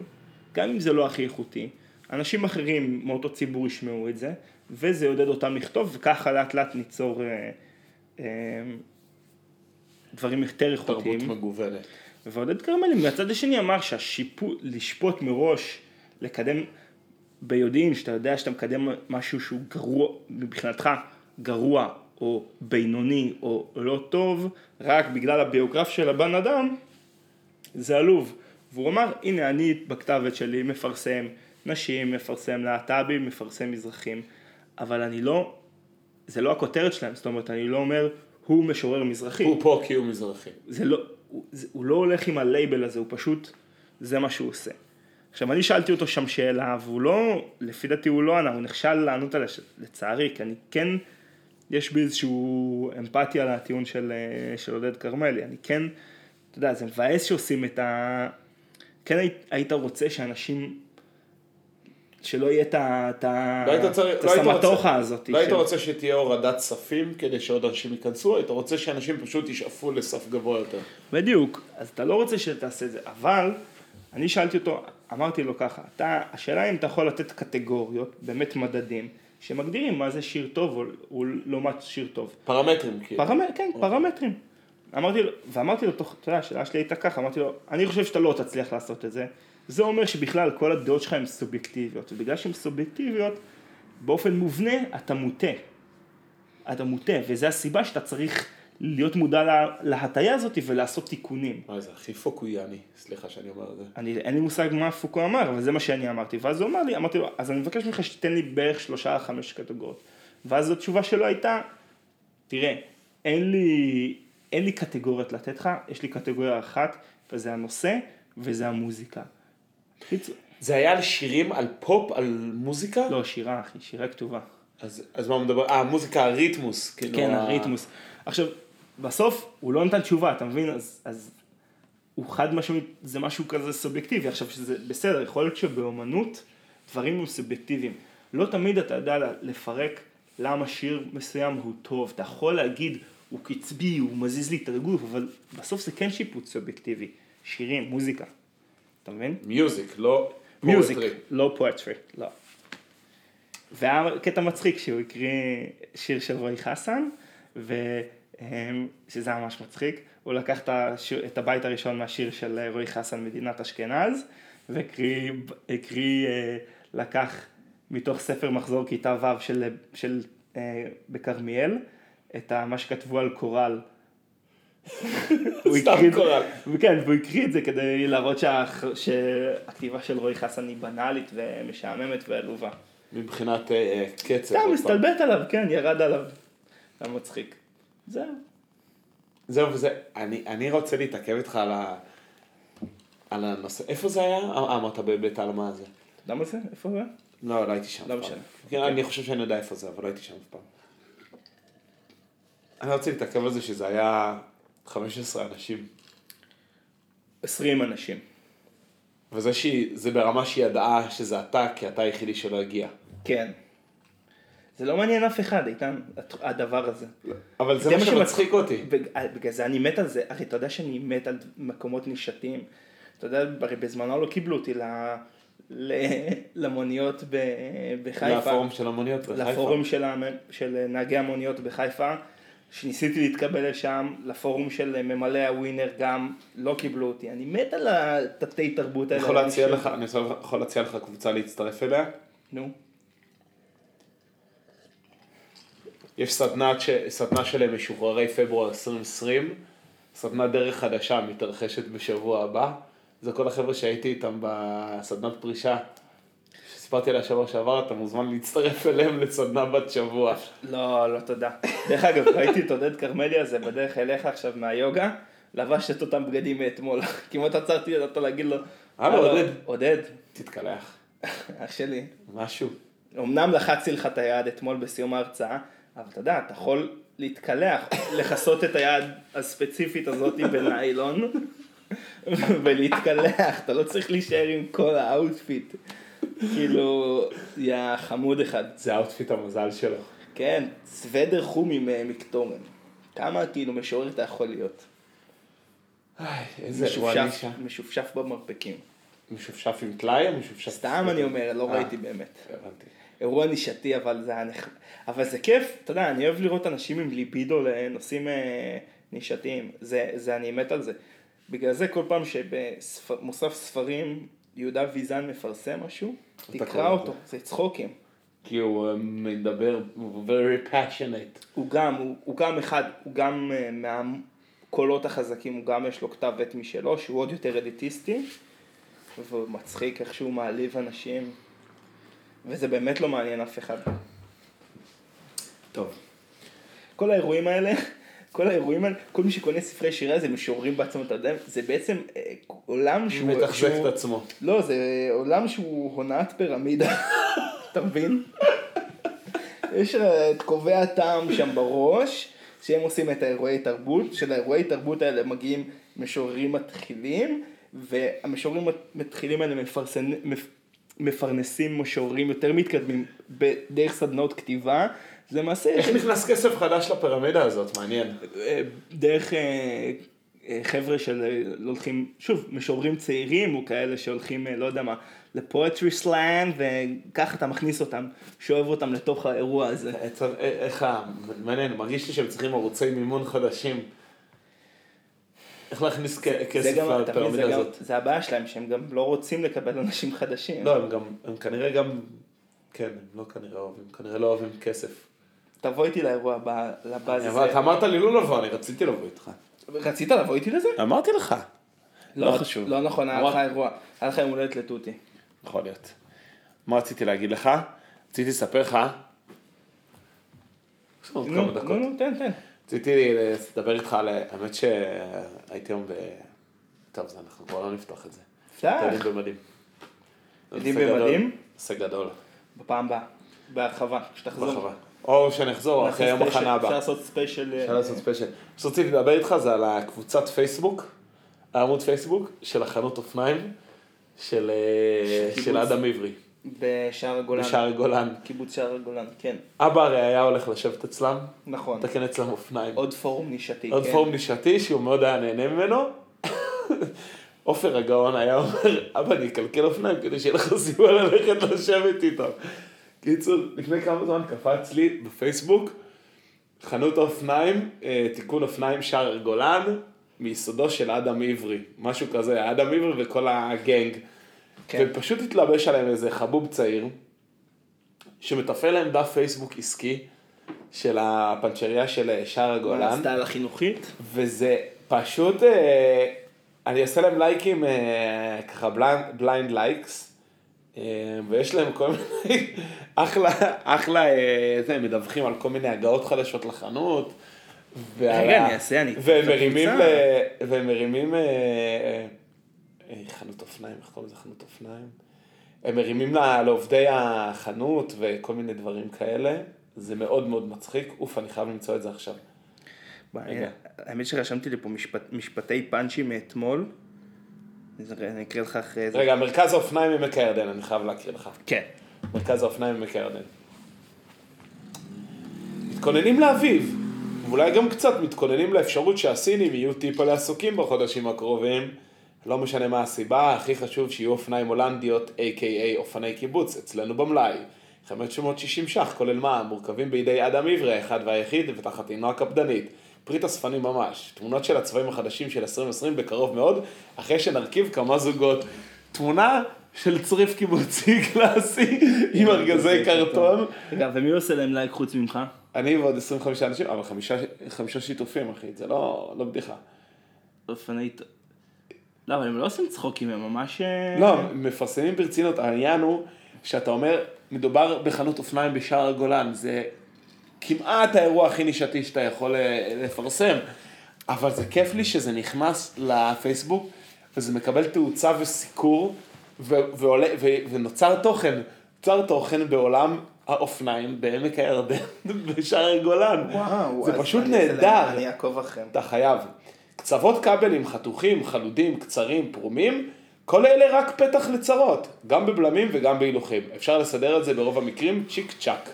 Speaker 2: גם אם זה לא הכי איכותי, אנשים אחרים מאותו ציבור ישמעו את זה, וזה יעודד אותם לכתוב, וככה לאט לאט ניצור... אה, אה, דברים יותר
Speaker 1: תרבות
Speaker 2: איכותיים.
Speaker 1: מגוונת.
Speaker 2: ועודד כרמלי מהצד השני אמר שהשיפוט, מראש, לקדם ביודעין, שאתה יודע שאתה מקדם משהו שהוא גרוע, מבחינתך גרוע או בינוני או לא טוב, רק בגלל הביוגרף של הבן אדם, זה עלוב. והוא אמר, הנה אני בכתבת שלי מפרסם נשים, מפרסם להט"בים, מפרסם מזרחים, אבל אני לא, זה לא הכותרת שלהם, זאת אומרת, אני לא אומר, הוא משורר מזרחי.
Speaker 1: הוא פה כי הוא מזרחי.
Speaker 2: זה לא, הוא, זה, הוא לא הולך עם הלייבל הזה, הוא פשוט, זה מה שהוא עושה. עכשיו, אני שאלתי אותו שם שאלה, והוא לא, לפי דעתי הוא לא ענה, הוא נכשל לענות עליה, ש- לצערי, כי אני כן, יש בי איזשהו אמפתיה לטיעון של, אה, של עודד כרמלי, אני כן, אתה יודע, זה מבאס שעושים את ה... כן היית, היית רוצה שאנשים, שלא יהיה את ה... את ה-
Speaker 1: לא היית צריך-
Speaker 2: את
Speaker 1: לא היית רוצה-
Speaker 2: הסמטוחה הזאת.
Speaker 1: לא היית
Speaker 2: של-
Speaker 1: רוצה שתהיה הורדת ספים כדי שעוד אנשים ייכנסו, היית רוצה שאנשים פשוט ישאפו לסף גבוה יותר.
Speaker 2: בדיוק, אז אתה לא רוצה שתעשה את זה, אבל אני שאלתי אותו, אמרתי לו ככה, אתה, השאלה אם אתה יכול לתת קטגוריות, באמת מדדים, שמגדירים מה זה שיר טוב או, לא, או לעומת שיר טוב.
Speaker 1: פרמטרים כאילו.
Speaker 2: פרמ... כן, פרמטרים. אמרתי לו, ואמרתי לו, תוך- אתה יודע, השאלה שלי הייתה ככה, אמרתי לו, אני חושב שאתה לא תצליח לעשות את זה, זה אומר שבכלל כל הדעות שלך הן סובייקטיביות, ובגלל שהן סובייקטיביות, באופן מובנה אתה מוטה. אתה מוטה, וזו הסיבה שאתה צריך להיות מודע לה- להטיה הזאת ולעשות תיקונים.
Speaker 1: מה זה הכי פוקויאני, סליחה שאני אומר את זה.
Speaker 2: אני, אין לי מושג מה פוקו אמר, אבל זה מה שאני אמרתי. ואז הוא אמר לי, אמרתי לו, אז אני מבקש ממך שתיתן לי בערך שלושה חמש קטגוריות. ואז התשובה שלו הייתה, תראה, אין לי, אין לי קטגוריות לתת לך, יש לי קטגוריה אחת, וזה הנושא, וזה המוזיקה. קיצור,
Speaker 1: זה היה על שירים, על פופ, על מוזיקה?
Speaker 2: לא, שירה, אחי, שירה כתובה.
Speaker 1: אז, אז מה הוא מדבר? אה, מוזיקה, הריתמוס. כאילו,
Speaker 2: כן,
Speaker 1: ה-
Speaker 2: הריתמוס. עכשיו, בסוף הוא לא נתן תשובה, אתה מבין? אז, אז הוא חד משמעית, זה משהו כזה סובייקטיבי. עכשיו, שזה בסדר, יכול להיות שבאומנות דברים הם סובייקטיביים. לא תמיד אתה יודע לפרק למה שיר מסוים הוא טוב. אתה יכול להגיד, הוא קצבי, הוא מזיז לי את הגוף, אבל בסוף זה כן שיפוט סובייקטיבי. שירים, מוזיקה. אתה מבין?
Speaker 1: מיוזיק, לא...
Speaker 2: מיוזיק,
Speaker 1: פואטרי.
Speaker 2: לא פואטרי, לא. והיה קטע מצחיק שהוא הקריא שיר של רועי חסן, ו- אמ, שזה היה ממש מצחיק, הוא לקח את, השיר, את הבית הראשון מהשיר של אה, רועי חסן מדינת אשכנז, והקריא, הקריא, אה, לקח מתוך ספר מחזור כיתה ו' של, של אה, בכרמיאל, את ה- מה שכתבו על קורל. הוא
Speaker 1: סתם
Speaker 2: הקריא-
Speaker 1: קורל.
Speaker 2: וכן, והוא הקריא את זה כדי להראות שה... שהכתיבה של רועי חסן היא בנאלית ומשעממת ועלובה.
Speaker 1: מבחינת אה, אה, קצב.
Speaker 2: סתם,
Speaker 1: עוד פעם.
Speaker 2: הסתלבט עליו, כן, ירד עליו. היה מצחיק. זהו.
Speaker 1: זהו, וזה... אני, אני רוצה להתעכב איתך על ה... על הנושא. איפה זה היה? אה, אמרת בבית העלמה הזה.
Speaker 2: למה זה? איפה זה?
Speaker 1: לא, לא הייתי שם.
Speaker 2: לא
Speaker 1: אף פעם.
Speaker 2: משנה.
Speaker 1: כן, אני חושב שאני יודע איפה זה, אבל לא הייתי שם אף פעם. אני רוצה להתעכב על זה שזה היה 15 אנשים.
Speaker 2: 20 אנשים.
Speaker 1: וזה שהיא, זה ברמה שהיא ידעה שזה אתה, כי אתה היחידי שלא הגיע.
Speaker 2: כן. זה לא מעניין אף אחד, איתן, הת- הדבר הזה.
Speaker 1: אבל זה
Speaker 2: זה
Speaker 1: מה
Speaker 2: מה
Speaker 1: שמצחיק אותי.
Speaker 2: בג- אה, בגלל זה אני מת על זה. הרי אתה יודע שאני מת על מקומות נישתיים. אתה יודע, הרי בזמנו לא קיבלו אותי ל- ל- למוניות ב- בחיפה.
Speaker 1: לפורום של המוניות בחיפה.
Speaker 2: לפורום של, המ- של נהגי המוניות בחיפה, שניסיתי להתקבל לשם, לפורום של ממלא הווינר גם לא קיבלו אותי. אני מת על התתי תרבות
Speaker 1: אני
Speaker 2: האלה.
Speaker 1: יכול להציע
Speaker 2: אנשים-
Speaker 1: לך, אני יכול להציע לך קבוצה להצטרף אליה.
Speaker 2: נו.
Speaker 1: יש סדנת ש- סדנה של משוחררי פברואר 2020, סדנת דרך חדשה מתרחשת בשבוע הבא. זה כל החבר'ה שהייתי איתם בסדנת פרישה, שסיפרתי עליה שבוע שעבר, אתה מוזמן להצטרף אליהם לסדנה בת שבוע. אה,
Speaker 2: לא, לא תודה. דרך אגב, ראיתי את עודד כרמלי הזה בדרך אליך עכשיו מהיוגה, לבש את אותם בגדים מאתמול. כמעט עצרתי אותו להגיד לו,
Speaker 1: הלו,
Speaker 2: "הלו,
Speaker 1: אה, עודד."
Speaker 2: עודד,
Speaker 1: תתקלח,
Speaker 2: אח שלי,
Speaker 1: משהו.
Speaker 2: אמנם לחצתי לך את היד אתמול בסיום ההרצאה, אבל אתה יודע, אתה יכול להתקלח, לכסות את היד הספציפית הזאת בניילון, ולהתקלח, אתה לא צריך להישאר עם כל האאוטפיט. כאילו, יא חמוד אחד.
Speaker 1: זה האוטפיט המזל שלו.
Speaker 2: כן, סוודר חומי ממקטורן. כמה כאילו משורר אתה יכול להיות?
Speaker 1: איי, איזה אירוע
Speaker 2: משופשף,
Speaker 1: נישה.
Speaker 2: משופשף במרפקים.
Speaker 1: משופשף עם טלאי או משופשף...
Speaker 2: סתם אני אומר, לא
Speaker 1: כן, אה.
Speaker 2: ראיתי באמת.
Speaker 1: הבנתי.
Speaker 2: אירוע נישתי, אבל זה היה נחמד. אבל זה כיף, אתה יודע, אני אוהב לראות אנשים עם ליבידו לנושאים אה, נישתיים. זה, זה, אני מת על זה. בגלל זה כל פעם שבמוסף ספרים יהודה ויזן מפרסם משהו,
Speaker 1: קורא
Speaker 2: תקרא
Speaker 1: אותו.
Speaker 2: אותו, זה צחוקים.
Speaker 1: כי הוא אה, מדבר, הוא very passionate.
Speaker 2: הוא גם, הוא, הוא גם אחד, הוא גם אה, מהקולות החזקים, הוא גם יש לו כתב עת משלו, שהוא עוד יותר אליטיסטי, והוא מצחיק איך שהוא מעליב אנשים, וזה באמת לא מעניין אף אחד.
Speaker 1: טוב.
Speaker 2: כל האירועים האלה, כל האירועים האלה, כל מי שקונה ספרי שירה זה משוררים בעצמו, אתה יודע, זה בעצם אה, עולם שהוא...
Speaker 1: הוא מתחזק
Speaker 2: שהוא-
Speaker 1: את עצמו.
Speaker 2: לא, זה עולם שהוא הונאת פירמידה, אתה מבין? יש אה, את קובעי הטעם שם בראש, שהם עושים את האירועי תרבות, שלאירועי תרבות האלה מגיעים משוררים מתחילים, והמשוררים המתחילים האלה מפרסנ... מפ- מפרנסים משוררים יותר מתקדמים דרך סדנאות כתיבה, זה למעשה...
Speaker 1: איך נכנס כסף חדש לפירמידה הזאת? מעניין.
Speaker 2: אה, דרך אה, אה, חבר'ה של אה, לא הולכים, שוב, משוררים צעירים או כאלה שהולכים, אה, לא יודע מה, לפואטרי סלאם, וככה אתה מכניס אותם, שואב אותם לתוך האירוע הזה.
Speaker 1: עצב- אה, איך ה... מעניין, מרגיש לי שהם צריכים ערוצי מימון חדשים. איך להכניס כ-
Speaker 2: זה
Speaker 1: כסף
Speaker 2: גם, אתה מבין, זה
Speaker 1: לפירמידה
Speaker 2: גם,
Speaker 1: הזאת?
Speaker 2: זה הבעיה שלהם, שהם גם לא רוצים לקבל אנשים חדשים.
Speaker 1: לא, הם גם, הם כנראה גם, כן, הם לא כנראה אוהבים, כנראה לא אוהבים כסף.
Speaker 2: תבוא איתי לאירוע הבא, לבאז.
Speaker 1: אבל אתה אמרת לי לא לבוא, אני רציתי לבוא איתך.
Speaker 2: רצית לבוא איתי לזה?
Speaker 1: אמרתי לך. לא חשוב.
Speaker 2: לא נכון, היה
Speaker 1: אמר-
Speaker 2: לך אירוע, היה לך יום הולדת לתותי.
Speaker 1: יכול להיות. מה רציתי להגיד לך? רציתי לספר לך. יש לנו עוד
Speaker 2: נו,
Speaker 1: כמה
Speaker 2: נו,
Speaker 1: דקות.
Speaker 2: נו, תן, תן.
Speaker 1: רציתי לדבר איתך על... האמת שהייתי היום ב... טוב, זה אנחנו כבר לא נפתח את זה.
Speaker 2: סלח.
Speaker 1: טיילים במדים.
Speaker 2: מילים
Speaker 4: הישג גדול.
Speaker 2: במדים,
Speaker 4: הישג גדול.
Speaker 2: בפעם הבאה, בהרחבה, כשתחזור.
Speaker 4: בחווה.
Speaker 1: או שנחזור
Speaker 2: נעשה
Speaker 1: אחרי יום
Speaker 2: ספיישל,
Speaker 1: הכנה
Speaker 2: אפשר
Speaker 1: הבא.
Speaker 2: לעשות ספיישל, אה,
Speaker 1: אפשר לעשות ספיישל. מה שרציתי לדבר איתך זה על הקבוצת פייסבוק, העמוד פייסבוק של החנות אופניים של, אה,
Speaker 2: של
Speaker 1: של
Speaker 2: קיבוץ.
Speaker 1: אדם עברי,
Speaker 2: בשער הגולן.
Speaker 1: בשער הגולן.
Speaker 2: קיבוץ שער הגולן, כן,
Speaker 1: אבא הרי היה הולך לשבת אצלם,
Speaker 2: נכון.
Speaker 1: לתקן אצלם אופניים.
Speaker 2: עוד פורום נישתי,
Speaker 1: עוד
Speaker 2: כן.
Speaker 1: פורום נישתי שהוא מאוד היה נהנה ממנו. עופר הגאון היה אומר, אבא אני אקלקל אופניים כדי שיהיה לך סיבה ללכת לשבת איתם. קיצור, לפני כמה זמן קפץ לי בפייסבוק, חנות האופניים, אה, תיקון אופניים שער גולן, מיסודו של אדם עברי, משהו כזה, אדם עברי וכל הגנג.
Speaker 2: כן.
Speaker 1: ופשוט התלבש עליהם איזה חבוב צעיר, שמתפעל להם דף פייסבוק עסקי של הפנצ'ריה של אה, שער
Speaker 2: מה,
Speaker 1: הגולן.
Speaker 2: הסטייל החינוכית?
Speaker 1: וזה פשוט, אה, אני אעשה להם לייקים, אה, ככה בליינד לייקס, אה, ויש להם כל מיני, אחלה, אחלה, אה, זה, הם מדווחים על כל מיני הגעות חדשות לחנות. ועל
Speaker 2: רגע,
Speaker 1: ה-
Speaker 2: אני אעשה, אני-
Speaker 1: והם מרימים,
Speaker 2: בקבוצה.
Speaker 1: ל- והם מרימים, אה, אה, אה, חנות אופניים, איך קוראים לזה חנות אופניים? הם מרימים ל- לעובדי החנות וכל מיני דברים כאלה. זה מאוד מאוד מצחיק, אוף, אני חייב למצוא את זה עכשיו.
Speaker 2: מעניין. אה, האמת שרשמתי לי פה משפט- משפטי פאנצ'י מאתמול. אז רגע, אני אקריא לך אחרי זה.
Speaker 1: רגע, מרכז האופניים עמק הירדן, אני חייב להקריא לך.
Speaker 2: כן.
Speaker 1: מרכז האופניים עמק הירדן. מתכוננים לאביב, ואולי גם קצת מתכוננים לאפשרות שהסינים יהיו טיפה לעסוקים בחודשים הקרובים. לא משנה מה הסיבה, הכי חשוב שיהיו אופניים הולנדיות, a.k.a אופני קיבוץ, אצלנו במלאי. 560 ש"ח, כולל מע"מ, מורכבים בידי אדם עברי, האחד והיחיד, ותחת עינו הקפדנית. פריט אספני ממש. תמונות של הצבעים החדשים של 2020 בקרוב מאוד, אחרי שנרכיב כמה זוגות. תמונה של צריף קיבוצי קלאסי עם ארגזי קרטון.
Speaker 2: אוקיי, רגע, ומי עושה להם לייק חוץ ממך?
Speaker 1: אני ועוד 25 אנשים, אבל חמישה, חמישה שיתופים, אחי, זה לא, לא בדיחה.
Speaker 2: אופני... לא, אבל הם לא עושים צחוקים, הם ממש... אה,
Speaker 1: לא, מפרסמים ברצינות, העניין הוא שאתה אומר, מדובר בחנות אופניים בשער הגולן, זה כמעט האירוע הכי נישתי שאתה יכול אה, לפרסם, אבל זה כיף לי שזה נכנס לפייסבוק, וזה מקבל תאוצה וסיקור, ו- ועולה, ו- ונוצר תוכן, נוצר תוכן בעולם האופניים בעמק הירדן, בשער הגולן.
Speaker 2: וואו,
Speaker 1: זה
Speaker 2: אז
Speaker 1: פשוט
Speaker 2: אני אעשה
Speaker 1: נהדר.
Speaker 2: להם- אני אעקוב אחריהם.
Speaker 1: אתה חייב. קצוות כבלים חתוכים, חלודים, קצרים, פרומים, כל אלה רק פתח לצרות, גם בבלמים וגם בהילוכים. אפשר לסדר את זה ברוב המקרים צ'יק צ'אק.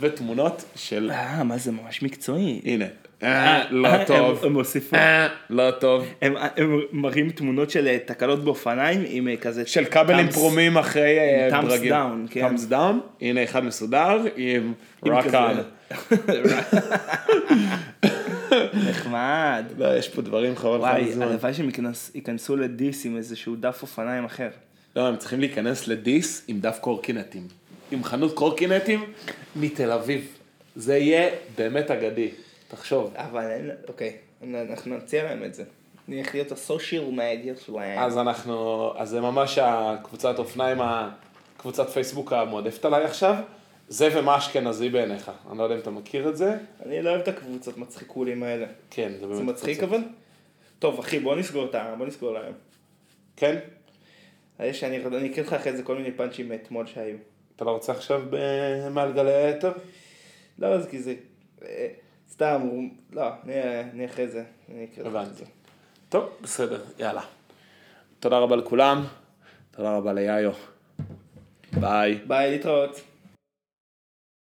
Speaker 1: ותמונות של...
Speaker 2: אה, מה זה ממש מקצועי.
Speaker 1: הנה. אה, לא טוב.
Speaker 2: הם- הם הוסיפו.
Speaker 1: אה, לא טוב.
Speaker 2: הם הם מראים תמונות של אה, תקלות באופניים עם אה, כזה...
Speaker 1: של כבלים
Speaker 2: thumbs-
Speaker 1: פרומים אחרי אה,
Speaker 2: עם thumbs
Speaker 1: ברגים.
Speaker 2: down, כן.
Speaker 1: thumbs down, הנה אחד מסודר עם רק
Speaker 2: כזה.
Speaker 1: על.
Speaker 2: נחמד.
Speaker 1: לא, יש פה דברים חבל לך על
Speaker 2: וואי,
Speaker 1: הזמן.
Speaker 2: הלוואי שהם ייכנס- ייכנסו לדיס עם איזשהו דף אופניים אחר.
Speaker 1: לא, הם צריכים להיכנס לדיס עם דף קורקינטים. עם חנות קורקינטים מתל אביב. זה יהיה באמת אגדי. תחשוב.
Speaker 2: אבל אין, אוקיי, אנחנו נציע להם את זה. נלך להיות הסושיאל מדיה שלהם.
Speaker 1: אז אנחנו, אז זה ממש הקבוצת אופניים, ה- קבוצת פייסבוק המועדפת עליי עכשיו. זה ומה אשכנזי בעיניך. אני לא יודע אם אתה מכיר את זה.
Speaker 2: אני לא אוהב את הקבוצות מצחיקולים האלה.
Speaker 1: כן, זה באמת...
Speaker 2: זה מצחיק
Speaker 1: קבוצה.
Speaker 2: אבל? טוב אחי בוא נסגור את ה... בוא נסגור להם. אה,
Speaker 1: כן?
Speaker 2: יש, אני אני אקריא לך אחרי זה כל מיני פאנצ'ים מאתמול שהיו.
Speaker 1: אתה לא רוצה עכשיו ב- מעל גלי היתר?
Speaker 2: לא, זה כי זה... אה, סתם, הוא... לא, אני- אני אחרי זה. אני אקריא לך את
Speaker 1: הבנתי.
Speaker 2: זה.
Speaker 1: טוב, בסדר, יאללה. תודה רבה לכולם. תודה רבה ליאיו. ביי.
Speaker 2: ביי, להתראות.